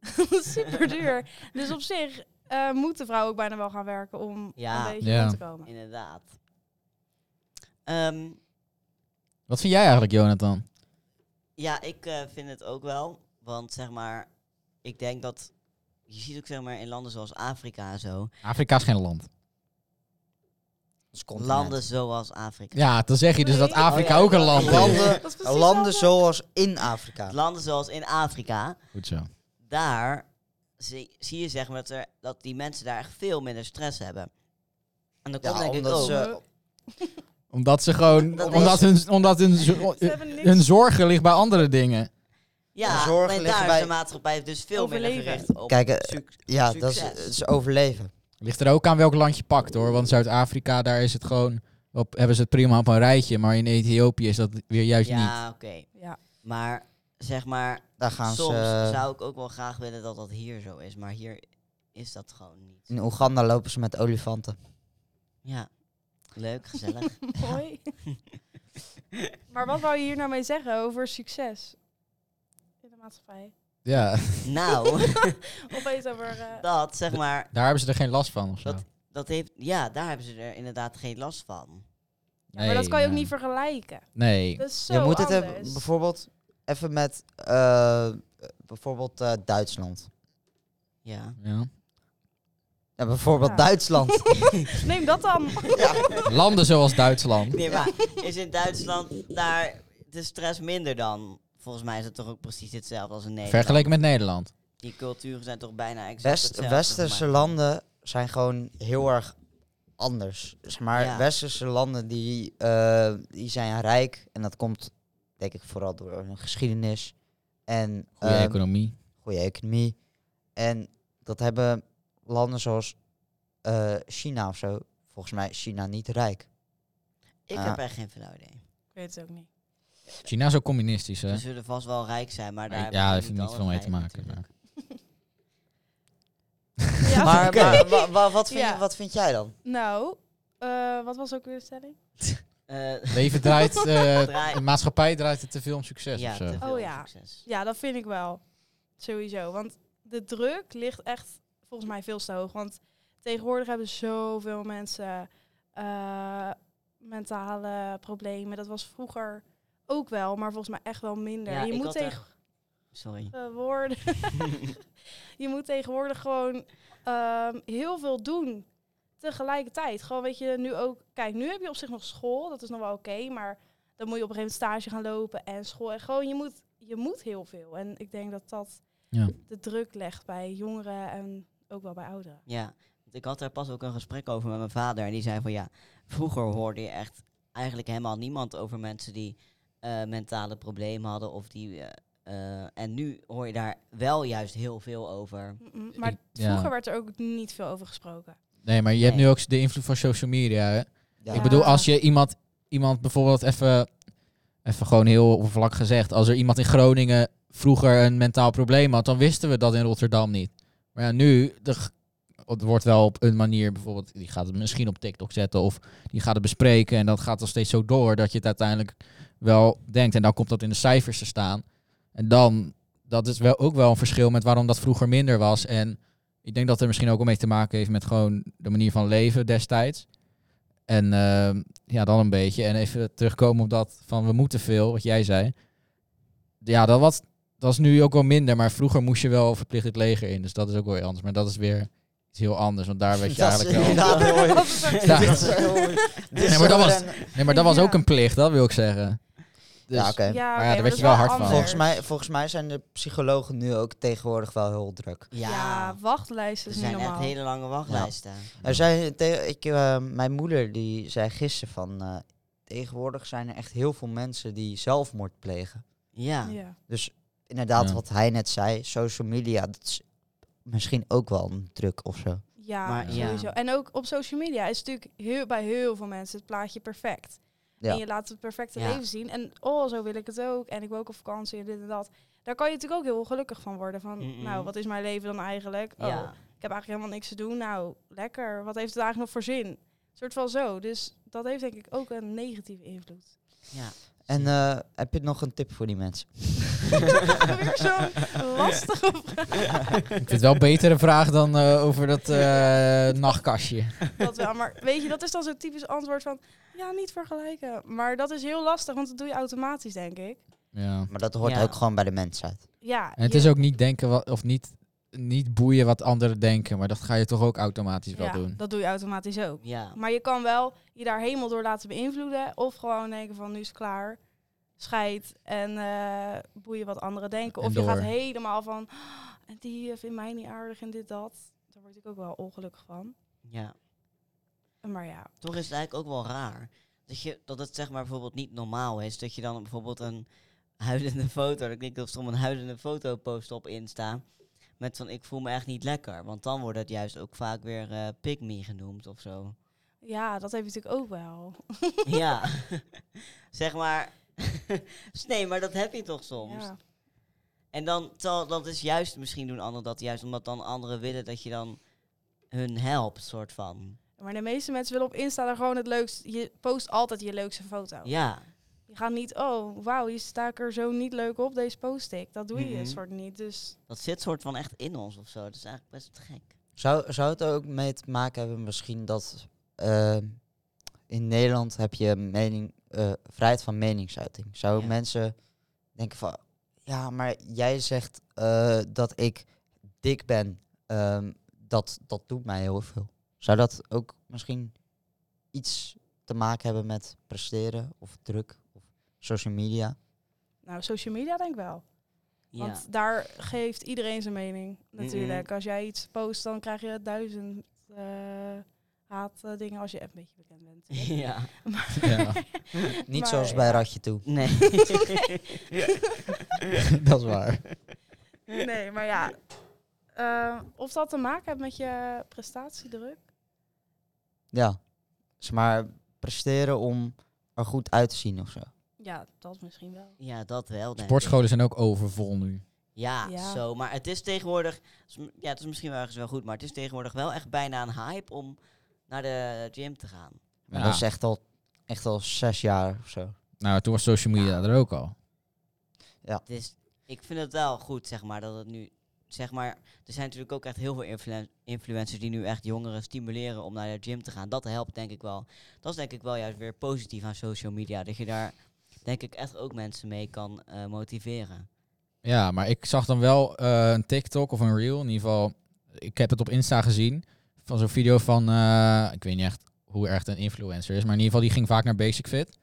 Speaker 4: super duur. Dus op zich eh, moet de vrouw ook bijna wel gaan werken om
Speaker 2: Ja.
Speaker 4: een beetje
Speaker 1: Ja.
Speaker 4: rond te komen.
Speaker 2: Inderdaad. Ehm,
Speaker 1: Wat vind jij eigenlijk, Jonathan?
Speaker 2: ja, ik eh, vind het ook wel. Want zeg maar, ik denk dat... Je ziet ook zeg maar in landen zoals Afrika en zo.
Speaker 1: Afrika is geen land.
Speaker 3: dat is continent.
Speaker 2: Landen zoals Afrika.
Speaker 1: Ja, dan zeg je dus dat
Speaker 4: Nee.
Speaker 1: Afrika
Speaker 2: Oh ja,
Speaker 1: ook een
Speaker 2: ja.
Speaker 1: land is.
Speaker 3: Landen,
Speaker 4: Dat is precies
Speaker 3: Nou, landen
Speaker 4: hetzelfde.
Speaker 3: zoals in Afrika.
Speaker 2: Landen zoals in Afrika.
Speaker 1: Goed zo.
Speaker 2: daar zie, zie je zeg maar dat, er, dat die mensen daar echt veel minder stress hebben. En dan komt
Speaker 3: Ja,
Speaker 2: denk ik
Speaker 3: omdat
Speaker 2: ook.
Speaker 3: ze
Speaker 1: Omdat ze gewoon...
Speaker 2: Dat
Speaker 1: omdat hun, omdat hun, zo-
Speaker 4: Ze hebben niks
Speaker 1: hun zorgen ligt bij andere dingen.
Speaker 2: ja,
Speaker 3: zorgen
Speaker 2: maar
Speaker 3: liggen
Speaker 2: daar
Speaker 3: bij-
Speaker 2: is de maatschappij dus veel
Speaker 4: Overleven.
Speaker 2: minder gericht op.
Speaker 3: Kijk, eh,
Speaker 2: suc-
Speaker 3: ja, dat is,
Speaker 2: succes.
Speaker 3: het is overleven.
Speaker 1: Ligt er ook aan welk land je pakt, hoor. Want Zuid-Afrika, daar is het gewoon... Op, hebben ze het prima op een rijtje. Maar in Ethiopië is dat weer juist niet.
Speaker 2: ja, oké.
Speaker 4: Ja.
Speaker 2: Maar zeg maar,
Speaker 3: Daar gaan
Speaker 2: soms
Speaker 3: ze... eh,
Speaker 2: zou ik ook wel graag willen dat dat hier zo is. Maar hier is dat gewoon niet.
Speaker 3: In Oeganda lopen ze met olifanten.
Speaker 2: Ja, leuk, gezellig.
Speaker 4: Mooi. maar wat wou je hier nou mee zeggen over succes? In de maatschappij.
Speaker 1: Ja.
Speaker 2: nou,
Speaker 4: Opeens over... eh,
Speaker 2: dat zeg maar,
Speaker 1: Daar hebben ze er geen last van of zo.
Speaker 2: Dat- dat heeft, ja, daar hebben ze er inderdaad geen last van.
Speaker 1: nee,
Speaker 4: maar dat kan je ook
Speaker 1: ja.
Speaker 4: niet vergelijken.
Speaker 1: Nee.
Speaker 4: Dat is zo
Speaker 3: je moet het
Speaker 4: anders.
Speaker 3: hebben, bijvoorbeeld even met eh, bijvoorbeeld eh, Duitsland.
Speaker 2: Ja.
Speaker 1: Ja.
Speaker 3: Ja, bijvoorbeeld
Speaker 4: Ja.
Speaker 3: Duitsland.
Speaker 4: Neem dat dan.
Speaker 1: Landen zoals Duitsland.
Speaker 2: Nee, maar is in Duitsland daar de stress minder dan? Volgens mij is het toch ook precies hetzelfde als in Nederland.
Speaker 1: Vergeleken met Nederland.
Speaker 2: Die culturen zijn toch bijna exact
Speaker 3: West,
Speaker 2: hetzelfde,
Speaker 3: westerse
Speaker 2: maar-
Speaker 3: landen zijn gewoon heel erg anders. Zeg maar
Speaker 2: Ja.
Speaker 3: westerse landen die, eh, die zijn rijk. En dat komt denk ik vooral door hun geschiedenis. En
Speaker 1: Goede
Speaker 3: ehm,
Speaker 1: economie.
Speaker 3: goede economie. En dat hebben landen zoals eh, China of zo. Volgens mij is China niet rijk.
Speaker 2: Ik
Speaker 3: Ah.
Speaker 2: heb echt geen flauw idee.
Speaker 4: Ik weet het ook niet.
Speaker 1: China is ook communistisch, hè?
Speaker 2: Ze zullen vast wel rijk zijn, maar daar
Speaker 1: Maar
Speaker 2: hebben
Speaker 1: ja,
Speaker 2: ze
Speaker 1: dat heeft niet
Speaker 2: alle
Speaker 1: veel mee te
Speaker 2: vrijheid
Speaker 1: maken.
Speaker 2: natuurlijk.
Speaker 4: Ja.
Speaker 3: maar maar wa- wa- wat, vind
Speaker 4: Ja.
Speaker 3: je, wat vind jij dan?
Speaker 4: Nou, eh, wat was ook weer de stelling?
Speaker 2: Eh,
Speaker 1: maar- Leven draait, eh,
Speaker 2: Draai-
Speaker 1: de maatschappij draait het te veel om succes
Speaker 2: ja,
Speaker 1: of zo.
Speaker 2: te veel
Speaker 4: Oh ja.
Speaker 2: succes.
Speaker 4: Ja, dat vind ik wel. Sowieso. Want de druk ligt echt volgens mij veel te hoog. Want tegenwoordig hebben zoveel mensen eh, mentale problemen. Dat was vroeger ook wel, maar volgens mij echt wel minder.
Speaker 2: Ja,
Speaker 4: je
Speaker 2: ik
Speaker 4: moet
Speaker 2: had er-
Speaker 4: tegen
Speaker 2: Sorry.
Speaker 4: worden. eh, je moet tegenwoordig gewoon ehm, heel veel doen tegelijkertijd. Gewoon weet je, nu ook... Kijk, nu heb je op zich nog school. Dat is nog wel oké. maar dan moet je op een gegeven moment stage gaan lopen en school. En gewoon, je moet, je moet heel veel. En ik denk dat dat
Speaker 1: Ja.
Speaker 4: de druk legt bij jongeren en ook wel bij ouderen.
Speaker 2: Ja, want ik had daar pas ook een gesprek over met mijn vader. En die zei van ja, vroeger hoorde je echt eigenlijk helemaal niemand over mensen die eh, mentale problemen hadden. Of die, eh, eh, en nu hoor je daar wel juist heel veel over.
Speaker 4: Mm, mm. Maar
Speaker 1: Ik- ja.
Speaker 4: vroeger werd er ook niet veel over gesproken.
Speaker 1: Nee, maar je hebt
Speaker 2: Nee.
Speaker 1: nu ook de invloed van social media. Hè?
Speaker 3: Ja.
Speaker 1: Ik bedoel, als je iemand, iemand bijvoorbeeld even, even gewoon heel oppervlak gezegd, als er iemand in Groningen vroeger een mentaal probleem had, dan wisten we dat in Rotterdam niet. Maar ja, nu, de, g- het wordt wel op een manier bijvoorbeeld, die gaat het misschien op TikTok zetten of die gaat het bespreken en dat gaat dan steeds zo door dat je het uiteindelijk wel denkt en dan komt dat in de cijfers te staan. En dan, dat is wel ook wel een verschil met waarom dat vroeger minder was. En ik denk dat er misschien ook wel mee te maken heeft met gewoon de manier van leven destijds. En ehm, ja, dan een beetje. En even terugkomen op dat van we moeten veel, wat jij zei. Ja, dat, was, dat is nu ook wel minder. Maar vroeger moest je wel verplicht het leger in. Dus dat is ook wel weer anders. Maar dat is weer iets heel anders. Want daar werd je
Speaker 3: Dat is
Speaker 1: eigenlijk wel...
Speaker 3: inderdaad mooi.
Speaker 1: Ja.
Speaker 3: Dit is heel mooi. Dit is
Speaker 1: Nee, maar dat
Speaker 3: zo
Speaker 1: was-
Speaker 3: ren-
Speaker 1: Nee, maar dat was
Speaker 4: Ja.
Speaker 1: ook een plicht, dat wil ik zeggen. Dus,
Speaker 3: Ja, oké.
Speaker 4: Ja, oké,
Speaker 1: daar
Speaker 4: maar
Speaker 1: werd
Speaker 4: dat
Speaker 1: je
Speaker 4: is
Speaker 1: wel hard van.
Speaker 4: anders.
Speaker 3: Volgens, mij, volgens mij zijn de psychologen nu ook tegenwoordig wel heel druk.
Speaker 4: Ja,
Speaker 2: Er
Speaker 4: wachtlijsten is niet
Speaker 2: zijn echt
Speaker 4: normaal.
Speaker 2: hele lange wachtlijsten.
Speaker 3: Er zijn te- ik, eh, mijn moeder die zei gisteren van... eh, tegenwoordig zijn er echt heel veel mensen die zelfmoord plegen.
Speaker 2: Ja.
Speaker 4: Ja.
Speaker 3: Dus inderdaad,
Speaker 1: Ja.
Speaker 3: wat hij net zei, social media, dat is misschien ook wel een druk of zo.
Speaker 4: Ja,
Speaker 2: Maar ja.
Speaker 4: sowieso. En ook op social media is natuurlijk heel, bij heel veel mensen het plaatje perfect.
Speaker 3: Ja.
Speaker 4: En je laat het perfecte
Speaker 2: Ja.
Speaker 4: leven zien. En oh, zo wil ik het ook. En ik wil ook op vakantie en dit en dat. Daar kan je natuurlijk ook heel gelukkig van worden. Van,
Speaker 2: Mm-mm.
Speaker 4: nou, wat is mijn leven dan eigenlijk? Oh,
Speaker 2: Ja.
Speaker 4: ik heb eigenlijk helemaal niks te doen. Nou, lekker. Wat heeft het eigenlijk nog voor zin? Een soort van zo. Dus dat heeft denk ik ook een negatieve invloed.
Speaker 2: Ja.
Speaker 3: En eh, heb je nog een tip voor die mensen?
Speaker 4: Weer zo'n lastige
Speaker 1: Ik vind het wel een betere vraag dan eh, over dat eh, nachtkastje.
Speaker 4: dat wel. Maar weet je, dat is dan zo'n typisch antwoord van... Ja, niet vergelijken. Maar dat is heel lastig, want dat doe je automatisch, denk ik.
Speaker 1: Ja.
Speaker 3: Maar dat hoort
Speaker 2: Ja.
Speaker 3: ook gewoon bij de mensheid.
Speaker 4: Ja,
Speaker 1: En het
Speaker 4: je-
Speaker 1: is ook niet denken wat, of niet, niet boeien wat anderen denken. Maar dat ga je toch ook automatisch wel
Speaker 4: ja,
Speaker 1: doen.
Speaker 4: dat doe je automatisch ook.
Speaker 2: Ja.
Speaker 4: Maar je kan wel je daar helemaal door laten beïnvloeden. Of gewoon denken van, nu is het klaar. Scheid en eh boeien wat anderen denken.
Speaker 1: En
Speaker 4: Of
Speaker 1: door.
Speaker 4: je gaat helemaal van... "Ah, En die eh, vindt mij niet aardig en dit, dat. Daar word ik ook wel ongelukkig van.
Speaker 2: ja.
Speaker 4: Maar ja,
Speaker 2: Toch is het eigenlijk ook wel raar. Dat, je, dat het zeg maar bijvoorbeeld niet normaal is. Dat je dan bijvoorbeeld een huilende foto. Ik denk dat ze om een huilende foto post op Insta. Met van ik voel me echt niet lekker. Want dan wordt het juist ook vaak weer eh pick me genoemd of zo.
Speaker 4: ja, dat heb je natuurlijk ook wel.
Speaker 2: ja. zeg maar. Dus nee, maar dat heb je toch soms.
Speaker 4: Ja.
Speaker 2: En dan, terwijl dat is juist, misschien doen anderen dat juist omdat dan anderen willen dat je dan hun helpt, soort van.
Speaker 4: Maar de meeste mensen willen op Insta dan gewoon het leukste. Je post altijd je leukste foto.
Speaker 2: Ja,
Speaker 4: Je gaat niet, oh, wauw, hier sta ik er zo niet leuk op, deze post ik. Dat doe je
Speaker 2: Mhm.
Speaker 4: soort niet. Dus
Speaker 2: dat zit soort van echt in ons of zo. Dat is eigenlijk best gek.
Speaker 3: Zou, zou het er ook mee te maken hebben misschien dat... eh, in Nederland heb je mening, eh, vrijheid van meningsuiting. Zou
Speaker 2: Ja.
Speaker 3: mensen denken van... Ja, maar jij zegt eh, dat ik dik ben. ehm, dat, dat doet mij heel veel. Zou dat ook misschien iets te maken hebben met presteren of druk of social media?
Speaker 4: nou, social media denk ik wel.
Speaker 2: Ja.
Speaker 4: Want daar geeft iedereen zijn mening, natuurlijk. Als jij iets post, dan krijg je duizend eh haatdingen als je een beetje bekend bent.
Speaker 2: Ja.
Speaker 1: Ja.
Speaker 3: Niet
Speaker 4: Maar
Speaker 3: zoals bij
Speaker 4: ja.
Speaker 3: Radje toe.
Speaker 2: Nee.
Speaker 1: dat is waar.
Speaker 4: Nee, maar ja. eh, of dat te maken heeft met je prestatiedruk?
Speaker 3: Ja. Zeg maar presteren om er goed uit te zien of zo.
Speaker 4: Ja, dat misschien wel.
Speaker 2: ja, dat wel. Denk ik.
Speaker 1: Sportscholen zijn ook overvol nu.
Speaker 2: Ja,
Speaker 4: Ja.
Speaker 2: zo. Maar het is tegenwoordig. is m- Ja, het is misschien wel ergens wel goed. Maar het is tegenwoordig wel echt bijna een hype om naar de gym te gaan.
Speaker 3: Maar
Speaker 1: Ja.
Speaker 3: dat is echt al, echt al zes jaar of zo.
Speaker 1: Nou, toen was social media er ook al.
Speaker 2: Het is, ik vind het wel goed, zeg maar, dat het nu. Zeg maar, er zijn natuurlijk ook echt heel veel influen- influencers die nu echt jongeren stimuleren om naar de gym te gaan. Dat helpt denk ik wel. Dat is denk ik wel juist weer positief aan social media. Dat je daar denk ik echt ook mensen mee kan eh, motiveren.
Speaker 1: Ja, maar ik zag dan wel eh, een TikTok of een reel. In ieder geval, ik heb het op Insta gezien. Van zo'n video van, eh, ik weet niet echt hoe erg het een influencer is. Maar in ieder geval, die ging vaak naar Basic Fit.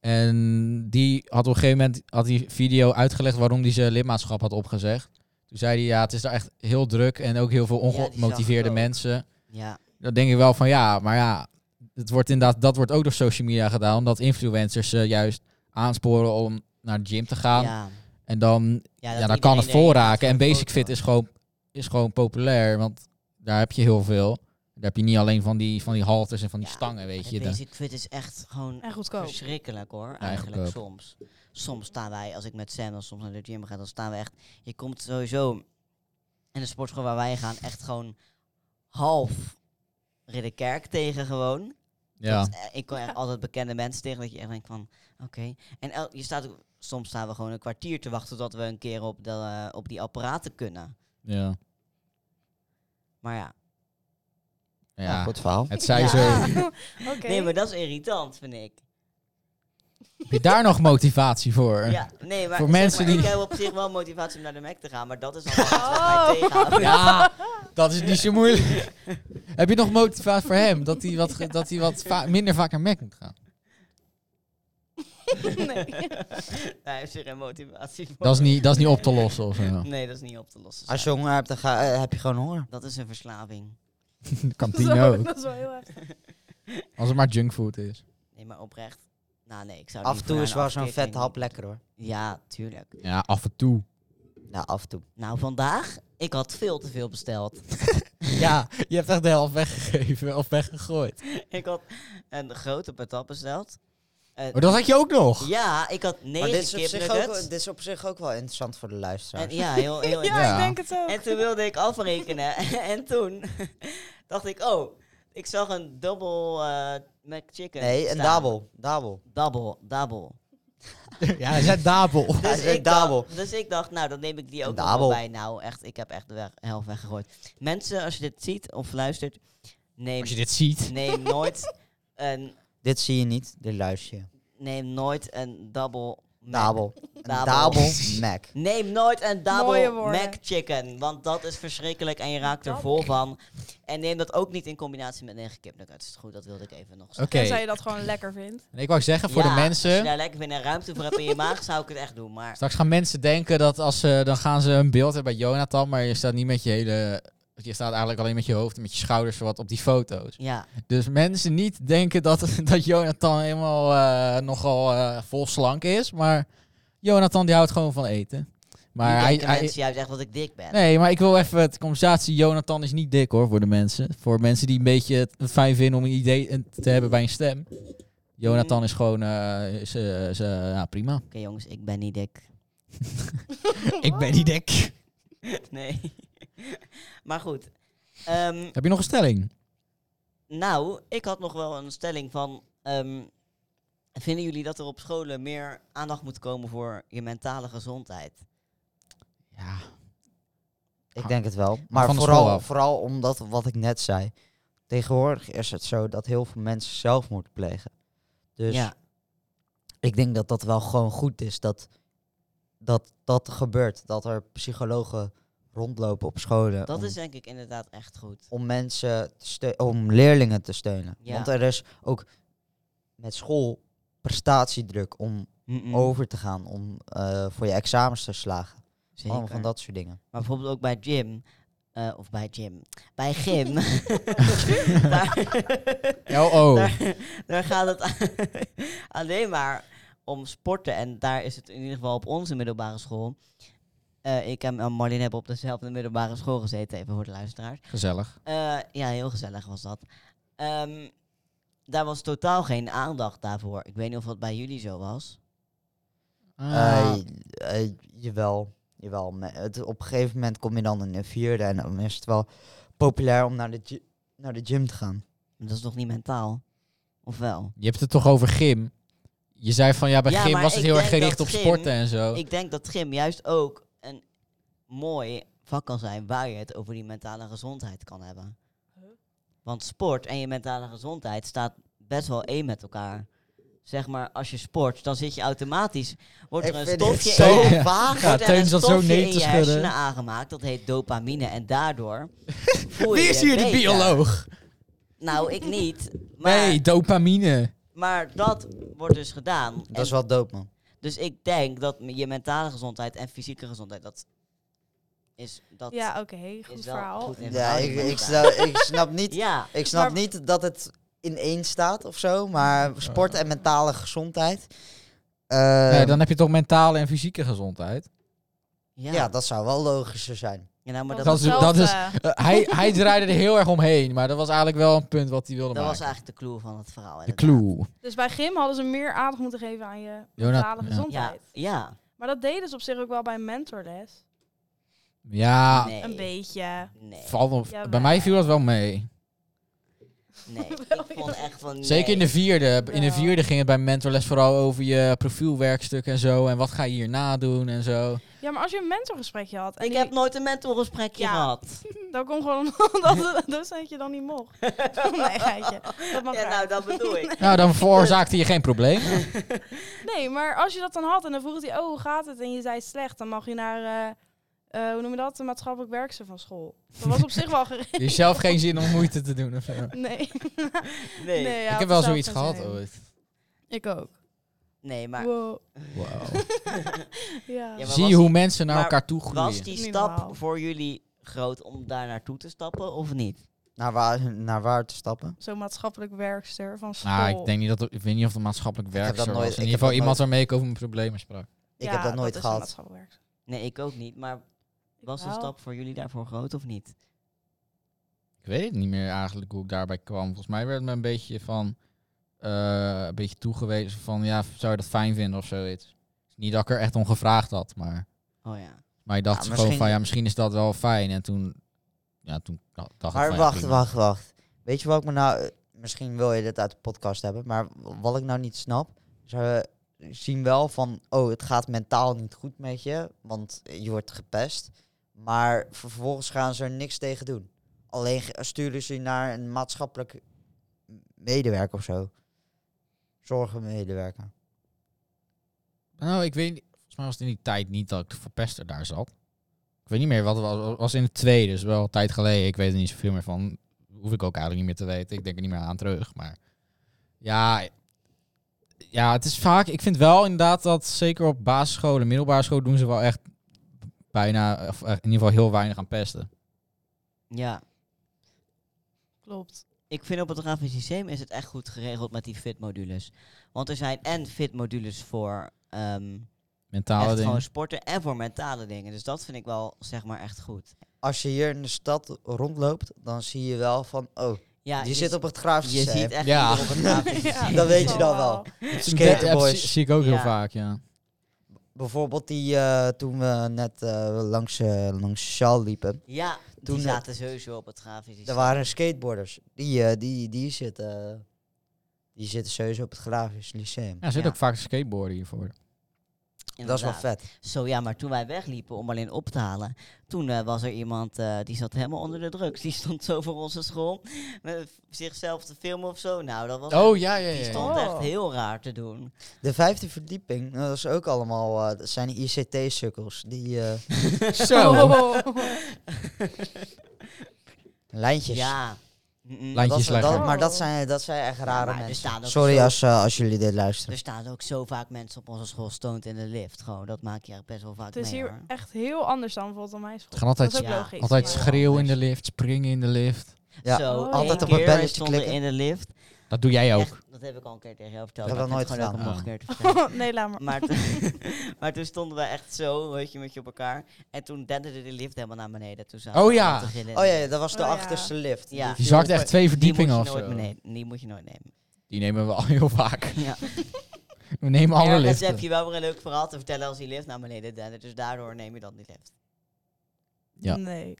Speaker 1: En die had op een gegeven moment had die video uitgelegd waarom hij zijn lidmaatschap had opgezegd. Toen zei hij, ja, het is daar echt heel druk en ook heel veel
Speaker 2: Ja, die zag ik
Speaker 1: ongemotiveerde
Speaker 2: ook.
Speaker 1: mensen.
Speaker 2: Ja.
Speaker 1: Dan denk ik wel van ja, maar ja, het wordt inderdaad, dat wordt ook door social media gedaan. Omdat influencers eh, juist aansporen om naar de gym te gaan.
Speaker 2: ja.
Speaker 1: En dan,
Speaker 2: dat
Speaker 1: ja, dan kan het
Speaker 2: iedereen erin gaat
Speaker 1: voorraken.
Speaker 2: voor
Speaker 1: En
Speaker 2: een
Speaker 1: Basic
Speaker 2: foto.
Speaker 1: Fit is gewoon, is gewoon populair. Want daar heb je heel veel. Daar heb je niet alleen van die, van die halters en van die
Speaker 2: Ja,
Speaker 1: stangen, weet
Speaker 2: Het
Speaker 1: je. Dan-
Speaker 2: Basic fit is echt gewoon
Speaker 4: En goedkoop.
Speaker 2: verschrikkelijk hoor, eigenlijk
Speaker 1: goedkoop.
Speaker 2: soms. Soms staan wij, als ik met Sam dan soms naar de gym ga, dan staan we echt... Je komt sowieso in de sportschool waar wij gaan echt gewoon half Ridderkerk tegen gewoon.
Speaker 1: ja.
Speaker 2: Dat is, eh, ik kom echt altijd bekende mensen tegen dat je echt denkt van, oké. En el- je staat, ook- soms staan we gewoon een kwartier te wachten tot we een keer op, de, eh, op die apparaten kunnen.
Speaker 1: Ja.
Speaker 2: Maar ja.
Speaker 1: ja.
Speaker 3: Goed verhaal.
Speaker 1: Het zij
Speaker 2: Ja.
Speaker 1: zo.
Speaker 4: Oké.
Speaker 2: Nee, maar dat is irritant, vind ik.
Speaker 1: Heb je daar nog motivatie voor?
Speaker 2: Ja, nee, maar,
Speaker 1: Voor
Speaker 2: zeg
Speaker 1: mensen
Speaker 2: maar,
Speaker 1: die-
Speaker 2: ik heb op zich wel motivatie om naar de Mac te gaan, maar dat is allemaal iets wat mij
Speaker 4: Oh.
Speaker 2: tegenhoudt.
Speaker 1: Oh. Ja, dat is niet zo moeilijk. Heb je nog motivatie voor hem? Dat hij wat, ge- dat hij wat va- minder vaak naar Mac moet gaan?
Speaker 4: nee.
Speaker 2: Hij heeft zich geen motivatie voor.
Speaker 1: Dat is niet, dat is niet op te lossen of zo.
Speaker 2: Nee, dat is niet op te lossen.
Speaker 3: Als je honger hebt, dan ga, eh, heb je gewoon honger.
Speaker 2: Dat is een verslaving.
Speaker 1: Kantine
Speaker 4: Zo,
Speaker 1: ook.
Speaker 4: dat is wel heel erg.
Speaker 1: Als het maar junkfood is.
Speaker 2: Nee, maar oprecht. Nou nee, ik zou
Speaker 3: Af en
Speaker 2: liever
Speaker 3: toe
Speaker 2: naar
Speaker 3: is
Speaker 2: een
Speaker 3: wel zo'n
Speaker 2: afkikking.
Speaker 3: vet hap lekker hoor.
Speaker 2: Ja, tuurlijk.
Speaker 1: Ja, af en toe.
Speaker 3: Nou, af en toe.
Speaker 2: Nou, vandaag, ik had veel te veel besteld.
Speaker 1: Ja, je hebt echt de helft weggegeven of weggegooid.
Speaker 2: ik had een grote patat besteld. Eh,
Speaker 1: Oh, dat had je ook nog?
Speaker 2: Ja, ik had
Speaker 3: Maar dit is,
Speaker 2: negen
Speaker 3: op zich ook,
Speaker 2: kipnuggets.
Speaker 3: dit is op zich ook wel interessant voor de
Speaker 2: En,
Speaker 3: luisteraars.
Speaker 2: ja, heel, heel
Speaker 4: Ja,
Speaker 1: Ja.
Speaker 4: ik denk het ook.
Speaker 2: En toen wilde ik afrekenen. en toen dacht ik, oh, ik zag een dubbel eh McChicken.
Speaker 3: Nee, een
Speaker 2: staan.
Speaker 3: dabel. Dabel.
Speaker 2: Double, double.
Speaker 1: Ja, hij zei dabel.
Speaker 3: Hij
Speaker 2: Dus
Speaker 3: zei
Speaker 2: ik, dacht,
Speaker 3: double.
Speaker 2: dus ik dacht, nou, dan neem ik die ook
Speaker 3: Een
Speaker 2: nog
Speaker 3: double.
Speaker 2: wel bij. Nou, echt, ik heb echt de weg, helft weggegooid. Mensen, als je dit ziet of luistert, neem,
Speaker 1: Als je dit ziet.
Speaker 2: neem nooit een,
Speaker 3: Dit zie je niet, dit luister je.
Speaker 2: neem nooit een double Mac.
Speaker 3: Dabel. Een
Speaker 2: Dabel.
Speaker 3: dabel Mac.
Speaker 2: Neem nooit een double
Speaker 4: Mooie woorden.
Speaker 2: Mac chicken, want dat is verschrikkelijk en je raakt er vol van. En neem dat ook niet in combinatie met negen kipnuggets. Goed, dat wilde ik even nog zeggen.
Speaker 1: Oké.
Speaker 4: Tenzij je dat gewoon lekker vindt.
Speaker 1: En ik wou zeggen voor
Speaker 2: Ja,
Speaker 1: de
Speaker 2: Als
Speaker 1: mensen.
Speaker 2: je daar lekker binnen ruimte voor hebt in je maag, zou ik het echt doen. Maar
Speaker 1: Straks gaan mensen denken dat als ze, dan gaan ze een beeld hebben bij Jonathan, maar je staat niet met je hele, je staat eigenlijk alleen met je hoofd en met je schouders wat op die foto's.
Speaker 2: ja,
Speaker 1: Dus mensen niet denken dat, dat Jonathan helemaal eh, nogal eh, vol slank is, maar Jonathan die houdt gewoon van eten. Maar
Speaker 2: maar
Speaker 1: hij,
Speaker 2: denken
Speaker 1: hij-
Speaker 2: mensen juist echt dat ik dik ben.
Speaker 1: nee, maar ik wil even het compensatie. Jonathan is niet dik hoor voor de mensen, voor mensen die een beetje het fijn vinden om een idee eh, te hebben bij een stem. Jonathan is gewoon, eh, is, eh, is, eh, ja prima.
Speaker 2: Oké jongens, ik ben niet dik.
Speaker 1: Ik ben niet dik.
Speaker 2: Nee. maar goed. Ehm,
Speaker 1: Heb je nog een stelling?
Speaker 2: nou, ik had nog wel een stelling van... ehm, vinden jullie dat er op scholen meer aandacht moet komen voor je mentale gezondheid?
Speaker 1: Ja.
Speaker 3: Ik denk het wel. Maar
Speaker 1: van de school
Speaker 3: vooral,
Speaker 1: af.
Speaker 3: vooral omdat wat ik net zei. Tegenwoordig is het zo dat heel veel mensen zelfmoord plegen. Dus
Speaker 2: Ja.
Speaker 3: ik denk dat dat wel gewoon goed is dat dat, dat gebeurt. Dat er psychologen rondlopen op scholen.
Speaker 2: Dat
Speaker 1: ehm,
Speaker 3: om,
Speaker 2: is denk ik inderdaad echt goed.
Speaker 3: om mensen te steu- om leerlingen te steunen.
Speaker 2: Ja.
Speaker 3: Want er is ook met school prestatiedruk om
Speaker 2: Mm-mm.
Speaker 3: over te gaan, om eh, voor je examens te slagen.
Speaker 2: Zeker.
Speaker 3: Allemaal van dat soort dingen.
Speaker 2: Maar bijvoorbeeld ook bij gym. eh, of bij gym. Bij gym. daar,
Speaker 1: Oh, oh.
Speaker 2: Daar, daar gaat het alleen maar om sporten. En daar is het in ieder geval op onze middelbare school. Eh, ik en en Marlin hebben op dezelfde middelbare school gezeten, even voor de luisteraars.
Speaker 1: Gezellig.
Speaker 2: Eh, ja, heel gezellig was dat. Ehm, daar was totaal geen aandacht daarvoor. Ik weet niet of dat bij jullie zo was. Ah.
Speaker 3: Eh, eh, jawel, jawel. Me- Het, op een gegeven moment kom je dan in de vierde en dan is het wel populair om naar de, gy- naar de gym te gaan.
Speaker 2: Dat is toch niet mentaal? Of wel?
Speaker 1: je hebt het toch over gym. Je zei van ja, bij
Speaker 2: Ja,
Speaker 1: gym
Speaker 2: maar
Speaker 1: was het
Speaker 2: ik
Speaker 1: heel erg
Speaker 2: denk
Speaker 1: gericht op
Speaker 2: dat gym-
Speaker 1: sporten en zo.
Speaker 2: Ik denk dat gym juist ook een mooi vak kan zijn waar je het over die mentale gezondheid kan hebben. Want sport en je mentale gezondheid staat best wel één met elkaar. Zeg maar, als je sport, dan zit je automatisch. Wordt er een stofje
Speaker 1: zo
Speaker 2: in je,
Speaker 1: Ja.
Speaker 3: vaag.
Speaker 1: Ja,
Speaker 2: wordt er
Speaker 1: Teun
Speaker 2: een
Speaker 1: zat zo
Speaker 2: stofje
Speaker 1: nee
Speaker 2: in
Speaker 1: te
Speaker 2: je
Speaker 1: schudden.
Speaker 2: hersenen aangemaakt. Dat heet dopamine. En daardoor. voel je
Speaker 1: Wie is
Speaker 2: je
Speaker 1: hier de
Speaker 2: beter.
Speaker 1: bioloog?
Speaker 2: Nou, ik niet. Maar,
Speaker 1: nee, dopamine.
Speaker 2: maar dat wordt dus gedaan.
Speaker 3: Dat
Speaker 2: En
Speaker 3: is wel dope, man.
Speaker 2: dus ik denk dat m- je mentale gezondheid en fysieke gezondheid dat is dat...
Speaker 4: ja, oké, goed
Speaker 2: is wel
Speaker 4: verhaal.
Speaker 2: goed in
Speaker 3: Ja, ik,
Speaker 2: verhouding met
Speaker 3: ik,
Speaker 2: elkaar.
Speaker 3: snap, ik snap niet
Speaker 2: Ja,
Speaker 3: Ik snap
Speaker 4: Maar-
Speaker 3: niet dat het in één staat of zo, maar sport en mentale gezondheid. eh,
Speaker 1: Nee, dan heb je toch mentale en fysieke gezondheid.
Speaker 2: ja.
Speaker 3: ja. dat zou wel logischer zijn.
Speaker 2: Ja, nou, maar dat,
Speaker 1: Dat
Speaker 2: was,
Speaker 1: is- dat is-
Speaker 4: hetzelfde.
Speaker 1: Eh, hij, hij draaide er heel erg omheen, maar dat was eigenlijk wel een punt wat hij wilde
Speaker 2: dat was
Speaker 1: maken.
Speaker 2: eigenlijk de clue van het verhaal.
Speaker 1: de
Speaker 2: inderdaad.
Speaker 1: clue.
Speaker 4: Dus bij Gym hadden ze meer aandacht moeten geven aan je
Speaker 1: Jonathan,
Speaker 4: mentale
Speaker 1: ja.
Speaker 2: Ja,
Speaker 4: gezondheid.
Speaker 2: ja.
Speaker 4: Maar dat deden ze op zich ook wel bij een mentorles.
Speaker 1: Ja,
Speaker 2: nee.
Speaker 4: Een beetje.
Speaker 2: Nee,
Speaker 1: valt op-
Speaker 4: Jawel.
Speaker 1: bij mij viel dat wel mee.
Speaker 2: nee. Ik vond echt van
Speaker 1: Zeker in de
Speaker 2: nee.
Speaker 1: vierde. In de
Speaker 4: Wel.
Speaker 1: vierde ging het bij mentorles vooral over je profielwerkstuk en zo. En wat ga je hierna doen en zo.
Speaker 4: Ja, maar als je een mentorgesprekje had en
Speaker 2: Ik
Speaker 4: die-
Speaker 2: heb nooit een mentorgesprekje
Speaker 4: Ja.
Speaker 2: gehad.
Speaker 4: dan kon gewoon omdat de docent je dan niet mocht. nee, geitje. Dat mag
Speaker 2: Ja,
Speaker 4: wel.
Speaker 2: nou, dat bedoel ik.
Speaker 1: Nou, dan veroorzaakte je geen probleem.
Speaker 4: Nee, maar als je dat dan had en dan vroeg hij, oh, hoe gaat het? En je zei slecht, dan mag je naar, eh, eh, hoe noem je dat, de maatschappelijk werkster van school. Dat was op zich wel geregeld.
Speaker 1: Je hebt zelf geen zin om moeite te doen. Of zo.
Speaker 4: Nee.
Speaker 2: Nee, nee.
Speaker 4: Nee, ja,
Speaker 1: ik
Speaker 4: had
Speaker 1: heb wel
Speaker 4: er zelf
Speaker 1: zoiets
Speaker 4: geen
Speaker 1: gehad
Speaker 4: zin in.
Speaker 1: ooit.
Speaker 4: Ik ook.
Speaker 2: maar
Speaker 4: Wow.
Speaker 1: Wow.
Speaker 4: Ja.
Speaker 2: Ja, maar
Speaker 1: Zie je
Speaker 2: was-
Speaker 1: hoe mensen naar
Speaker 2: maar
Speaker 1: elkaar toe groeien.
Speaker 2: was die
Speaker 4: Niet
Speaker 2: stap
Speaker 4: normaal.
Speaker 2: voor jullie groot om daar naartoe te stappen of niet?
Speaker 3: Naar waar, naar waar te stappen.
Speaker 4: Zo'n maatschappelijk werkster van school.
Speaker 1: Nou, ik denk niet dat ik weet niet of de maatschappelijk
Speaker 3: heb dat
Speaker 1: werkster was.
Speaker 3: nooit-
Speaker 1: In
Speaker 3: ik
Speaker 1: ieder geval
Speaker 3: heb dat
Speaker 1: iemand
Speaker 3: nooit-
Speaker 1: waarmee ik over mijn problemen sprak.
Speaker 3: Ik
Speaker 4: Ja,
Speaker 3: heb dat nooit
Speaker 4: is een
Speaker 3: gehad.
Speaker 4: maatschappelijk werkster.
Speaker 2: Nee, ik ook niet. Maar was de
Speaker 4: Wel.
Speaker 2: stap voor jullie daarvoor groot of niet?
Speaker 1: Ik weet het niet meer eigenlijk hoe ik daarbij kwam. Volgens mij werd me een beetje van eh, een beetje toegewezen van ja, zou je dat fijn vinden of zoiets. Niet dat ik er echt om gevraagd had, maar,
Speaker 2: Oh ja.
Speaker 1: maar ik dacht
Speaker 3: Ja,
Speaker 1: gewoon
Speaker 3: misschien-
Speaker 1: van ja, misschien is dat wel fijn. En toen, ja, toen dacht ik van,
Speaker 3: Maar
Speaker 1: ja,
Speaker 3: wacht,
Speaker 1: prima.
Speaker 3: wacht, wacht. Weet je wat ik me nou... eh, Misschien wil je dit uit de podcast hebben, maar w- wat ik nou niet snap... Ze zien wel van, oh, het gaat mentaal niet goed met je, want je wordt gepest. Maar vervolgens gaan ze er niks tegen doen. Alleen ge- sturen ze je naar een maatschappelijk medewerker of zo. Zorgenmedewerker.
Speaker 1: Nou, ik weet niet. Volgens mij was het in die tijd niet dat ik de verpester daar zat. Ik weet niet meer wat het was. was in het tweede, dus wel een tijd geleden. Ik weet er niet zoveel meer van. Hoef ik ook eigenlijk niet meer te weten. Ik denk er niet meer aan terug. Maar ja, ja, het is vaak. Ik vind wel inderdaad dat zeker op basisscholen, middelbare school doen ze wel echt bijna, of eh, in ieder geval heel weinig aan pesten.
Speaker 2: Ja.
Speaker 4: Klopt.
Speaker 2: Ik vind op het grafisch systeem is het echt goed geregeld met die fit-modules. Want er zijn en fit-modules voor ehm
Speaker 1: Mentale
Speaker 2: echt gewoon
Speaker 1: dingen.
Speaker 2: sporten en voor mentale dingen. Dus dat vind ik wel, zeg maar, echt goed.
Speaker 3: Als je hier in de stad rondloopt, dan zie je wel van, oh,
Speaker 2: Ja,
Speaker 3: je zit op het graafste
Speaker 2: Je ziet echt
Speaker 1: Ja.
Speaker 2: ieder op het grafisch systeem.
Speaker 3: Dat weet je
Speaker 4: zal
Speaker 3: dan wel. Skaterboys.
Speaker 1: Ja, zie- zie ik ook heel
Speaker 2: Ja.
Speaker 1: vaak, ja.
Speaker 3: Bijvoorbeeld die eh, toen we net eh, langs, eh langs Sjaal liepen.
Speaker 2: Ja,
Speaker 3: Toen,
Speaker 2: die
Speaker 3: eh,
Speaker 2: zaten sowieso op het grafisch systeem.
Speaker 3: Er waren skateboarders. Die, eh, die, die, zitten, die zitten sowieso op het Grafisch Lyceum.
Speaker 1: Ja, er zit
Speaker 2: Ja.
Speaker 1: ook vaak skateboarden hiervoor.
Speaker 3: Dat is wel
Speaker 2: Inderdaad.
Speaker 3: vet.
Speaker 2: Zo ja, maar toen wij wegliepen om alleen op te halen, toen eh, was er iemand eh, die zat helemaal onder de drugs. Die stond zo voor onze school met zichzelf te filmen of zo. Nou, dat was
Speaker 1: Oh ja, ja,
Speaker 2: die
Speaker 1: ja. ja.
Speaker 2: stond
Speaker 4: Oh.
Speaker 2: echt heel raar te doen.
Speaker 3: De vijfde verdieping, dat is ook allemaal, eh, dat zijn ICT-sukkels. Die eh,
Speaker 1: Zo.
Speaker 4: oh,
Speaker 3: lijntjes.
Speaker 2: Ja.
Speaker 1: Lijntje.
Speaker 2: Mm-mm.
Speaker 3: dat,
Speaker 1: Lijntjes leggen.
Speaker 3: dat- maar dat zijn, dat zijn echt
Speaker 2: maar
Speaker 3: rare
Speaker 2: er staan
Speaker 3: mensen.
Speaker 2: ook
Speaker 3: Sorry
Speaker 2: zo-
Speaker 3: als, eh, als jullie dit luisteren.
Speaker 2: Er staan ook zo vaak mensen op onze school stoned in de lift. Gewoon, dat maak je echt best wel vaak
Speaker 4: Het is
Speaker 2: mee
Speaker 4: hier
Speaker 2: hoor.
Speaker 4: echt heel anders dan bijvoorbeeld aan mijn
Speaker 1: Het
Speaker 4: school.
Speaker 1: gaan altijd,
Speaker 4: Dat is ook
Speaker 2: Ja.
Speaker 4: logisch.
Speaker 1: altijd
Speaker 4: maar-
Speaker 1: schreeuwen in de lift, springen in de lift.
Speaker 3: Ja,
Speaker 2: Zo,
Speaker 4: Oh,
Speaker 3: altijd
Speaker 2: één
Speaker 3: op een
Speaker 2: keer
Speaker 3: belletje
Speaker 2: stonden
Speaker 3: klikken.
Speaker 2: in de lift.
Speaker 1: Dat doe jij ook.
Speaker 2: Echt, dat heb ik al een keer tegen jou verteld.
Speaker 3: Ik heb
Speaker 2: maar
Speaker 3: dat
Speaker 2: ik vind het
Speaker 3: nooit
Speaker 2: gewoon leuk om
Speaker 1: gedaan.
Speaker 2: nog een keer te vertellen.
Speaker 4: nee, laat maar.
Speaker 2: Maar, toen- maar toen stonden we echt zo, weet je, met je op elkaar. En toen denderde de lift helemaal naar beneden. Toen zaten
Speaker 1: Oh
Speaker 2: we
Speaker 1: ja.
Speaker 2: te gillen.
Speaker 3: Oh ja, ja, dat was de
Speaker 4: Oh ja.
Speaker 3: achterste lift.
Speaker 2: Ja.
Speaker 1: Je
Speaker 3: viel
Speaker 1: zakt
Speaker 3: op-
Speaker 1: echt twee
Speaker 2: die moet je
Speaker 1: verdiepingen
Speaker 2: nooit
Speaker 1: of zo.
Speaker 2: beneden- Die moet je nooit nemen.
Speaker 1: Die nemen we al heel vaak.
Speaker 2: Ja.
Speaker 1: We nemen alle
Speaker 2: Ergens
Speaker 1: liften.
Speaker 2: heb je wel weer een leuk verhaal te vertellen als die lift naar beneden dendert. Dus daardoor neem je dan die lift.
Speaker 1: Ja.
Speaker 4: Nee.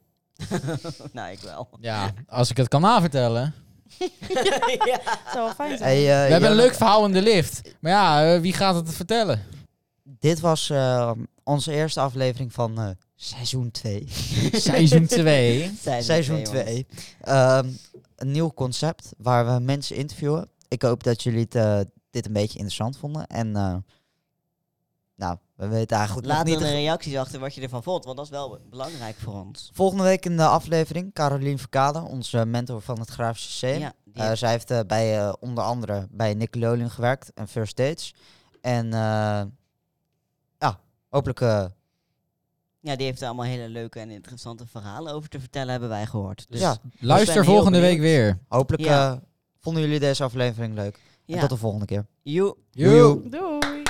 Speaker 2: nou, ik wel.
Speaker 1: Ja, als ik het kan
Speaker 2: Eh,
Speaker 1: navertellen.
Speaker 2: ja.
Speaker 4: Het zou wel fijn zijn.
Speaker 3: Hey, eh,
Speaker 1: We hebben een
Speaker 3: Jonathan,
Speaker 1: leuk verhaal in de lift. Maar ja, eh, wie gaat het vertellen?
Speaker 3: Dit was eh, onze eerste aflevering van eh, seizoen 2.
Speaker 1: Seizoen 2.
Speaker 2: Zijn
Speaker 3: Seizoen
Speaker 2: er twee,
Speaker 3: 2. Ehm, een nieuw concept waar we mensen interviewen. Ik hoop dat jullie het, eh, dit een beetje interessant vonden. En eh, nou, we weten eigenlijk
Speaker 2: jongens. Laat dan
Speaker 3: nog niet.
Speaker 2: de
Speaker 3: de-
Speaker 2: reacties achter wat je ervan vond, want dat is wel belangrijk voor ons.
Speaker 3: Volgende week in de aflevering Caroline Verkade, onze mentor van het Graafs Systeem.
Speaker 2: Ja, die-
Speaker 3: Eh, zij heeft eh, bij, eh, onder andere bij Nickelodeon gewerkt en First Dates. En eh, ja, hopelijk eh,
Speaker 2: Ja, die heeft er allemaal hele leuke en interessante verhalen over te vertellen, hebben wij gehoord. Dus
Speaker 3: ja,
Speaker 2: zijn
Speaker 1: Luister
Speaker 2: heel
Speaker 1: volgende week
Speaker 2: benieuwd.
Speaker 1: weer.
Speaker 3: hopelijk
Speaker 2: Ja.
Speaker 3: eh, vonden jullie deze aflevering leuk. En
Speaker 2: ja.
Speaker 3: tot de volgende keer.
Speaker 2: Joe.
Speaker 1: Joe.
Speaker 4: Doei!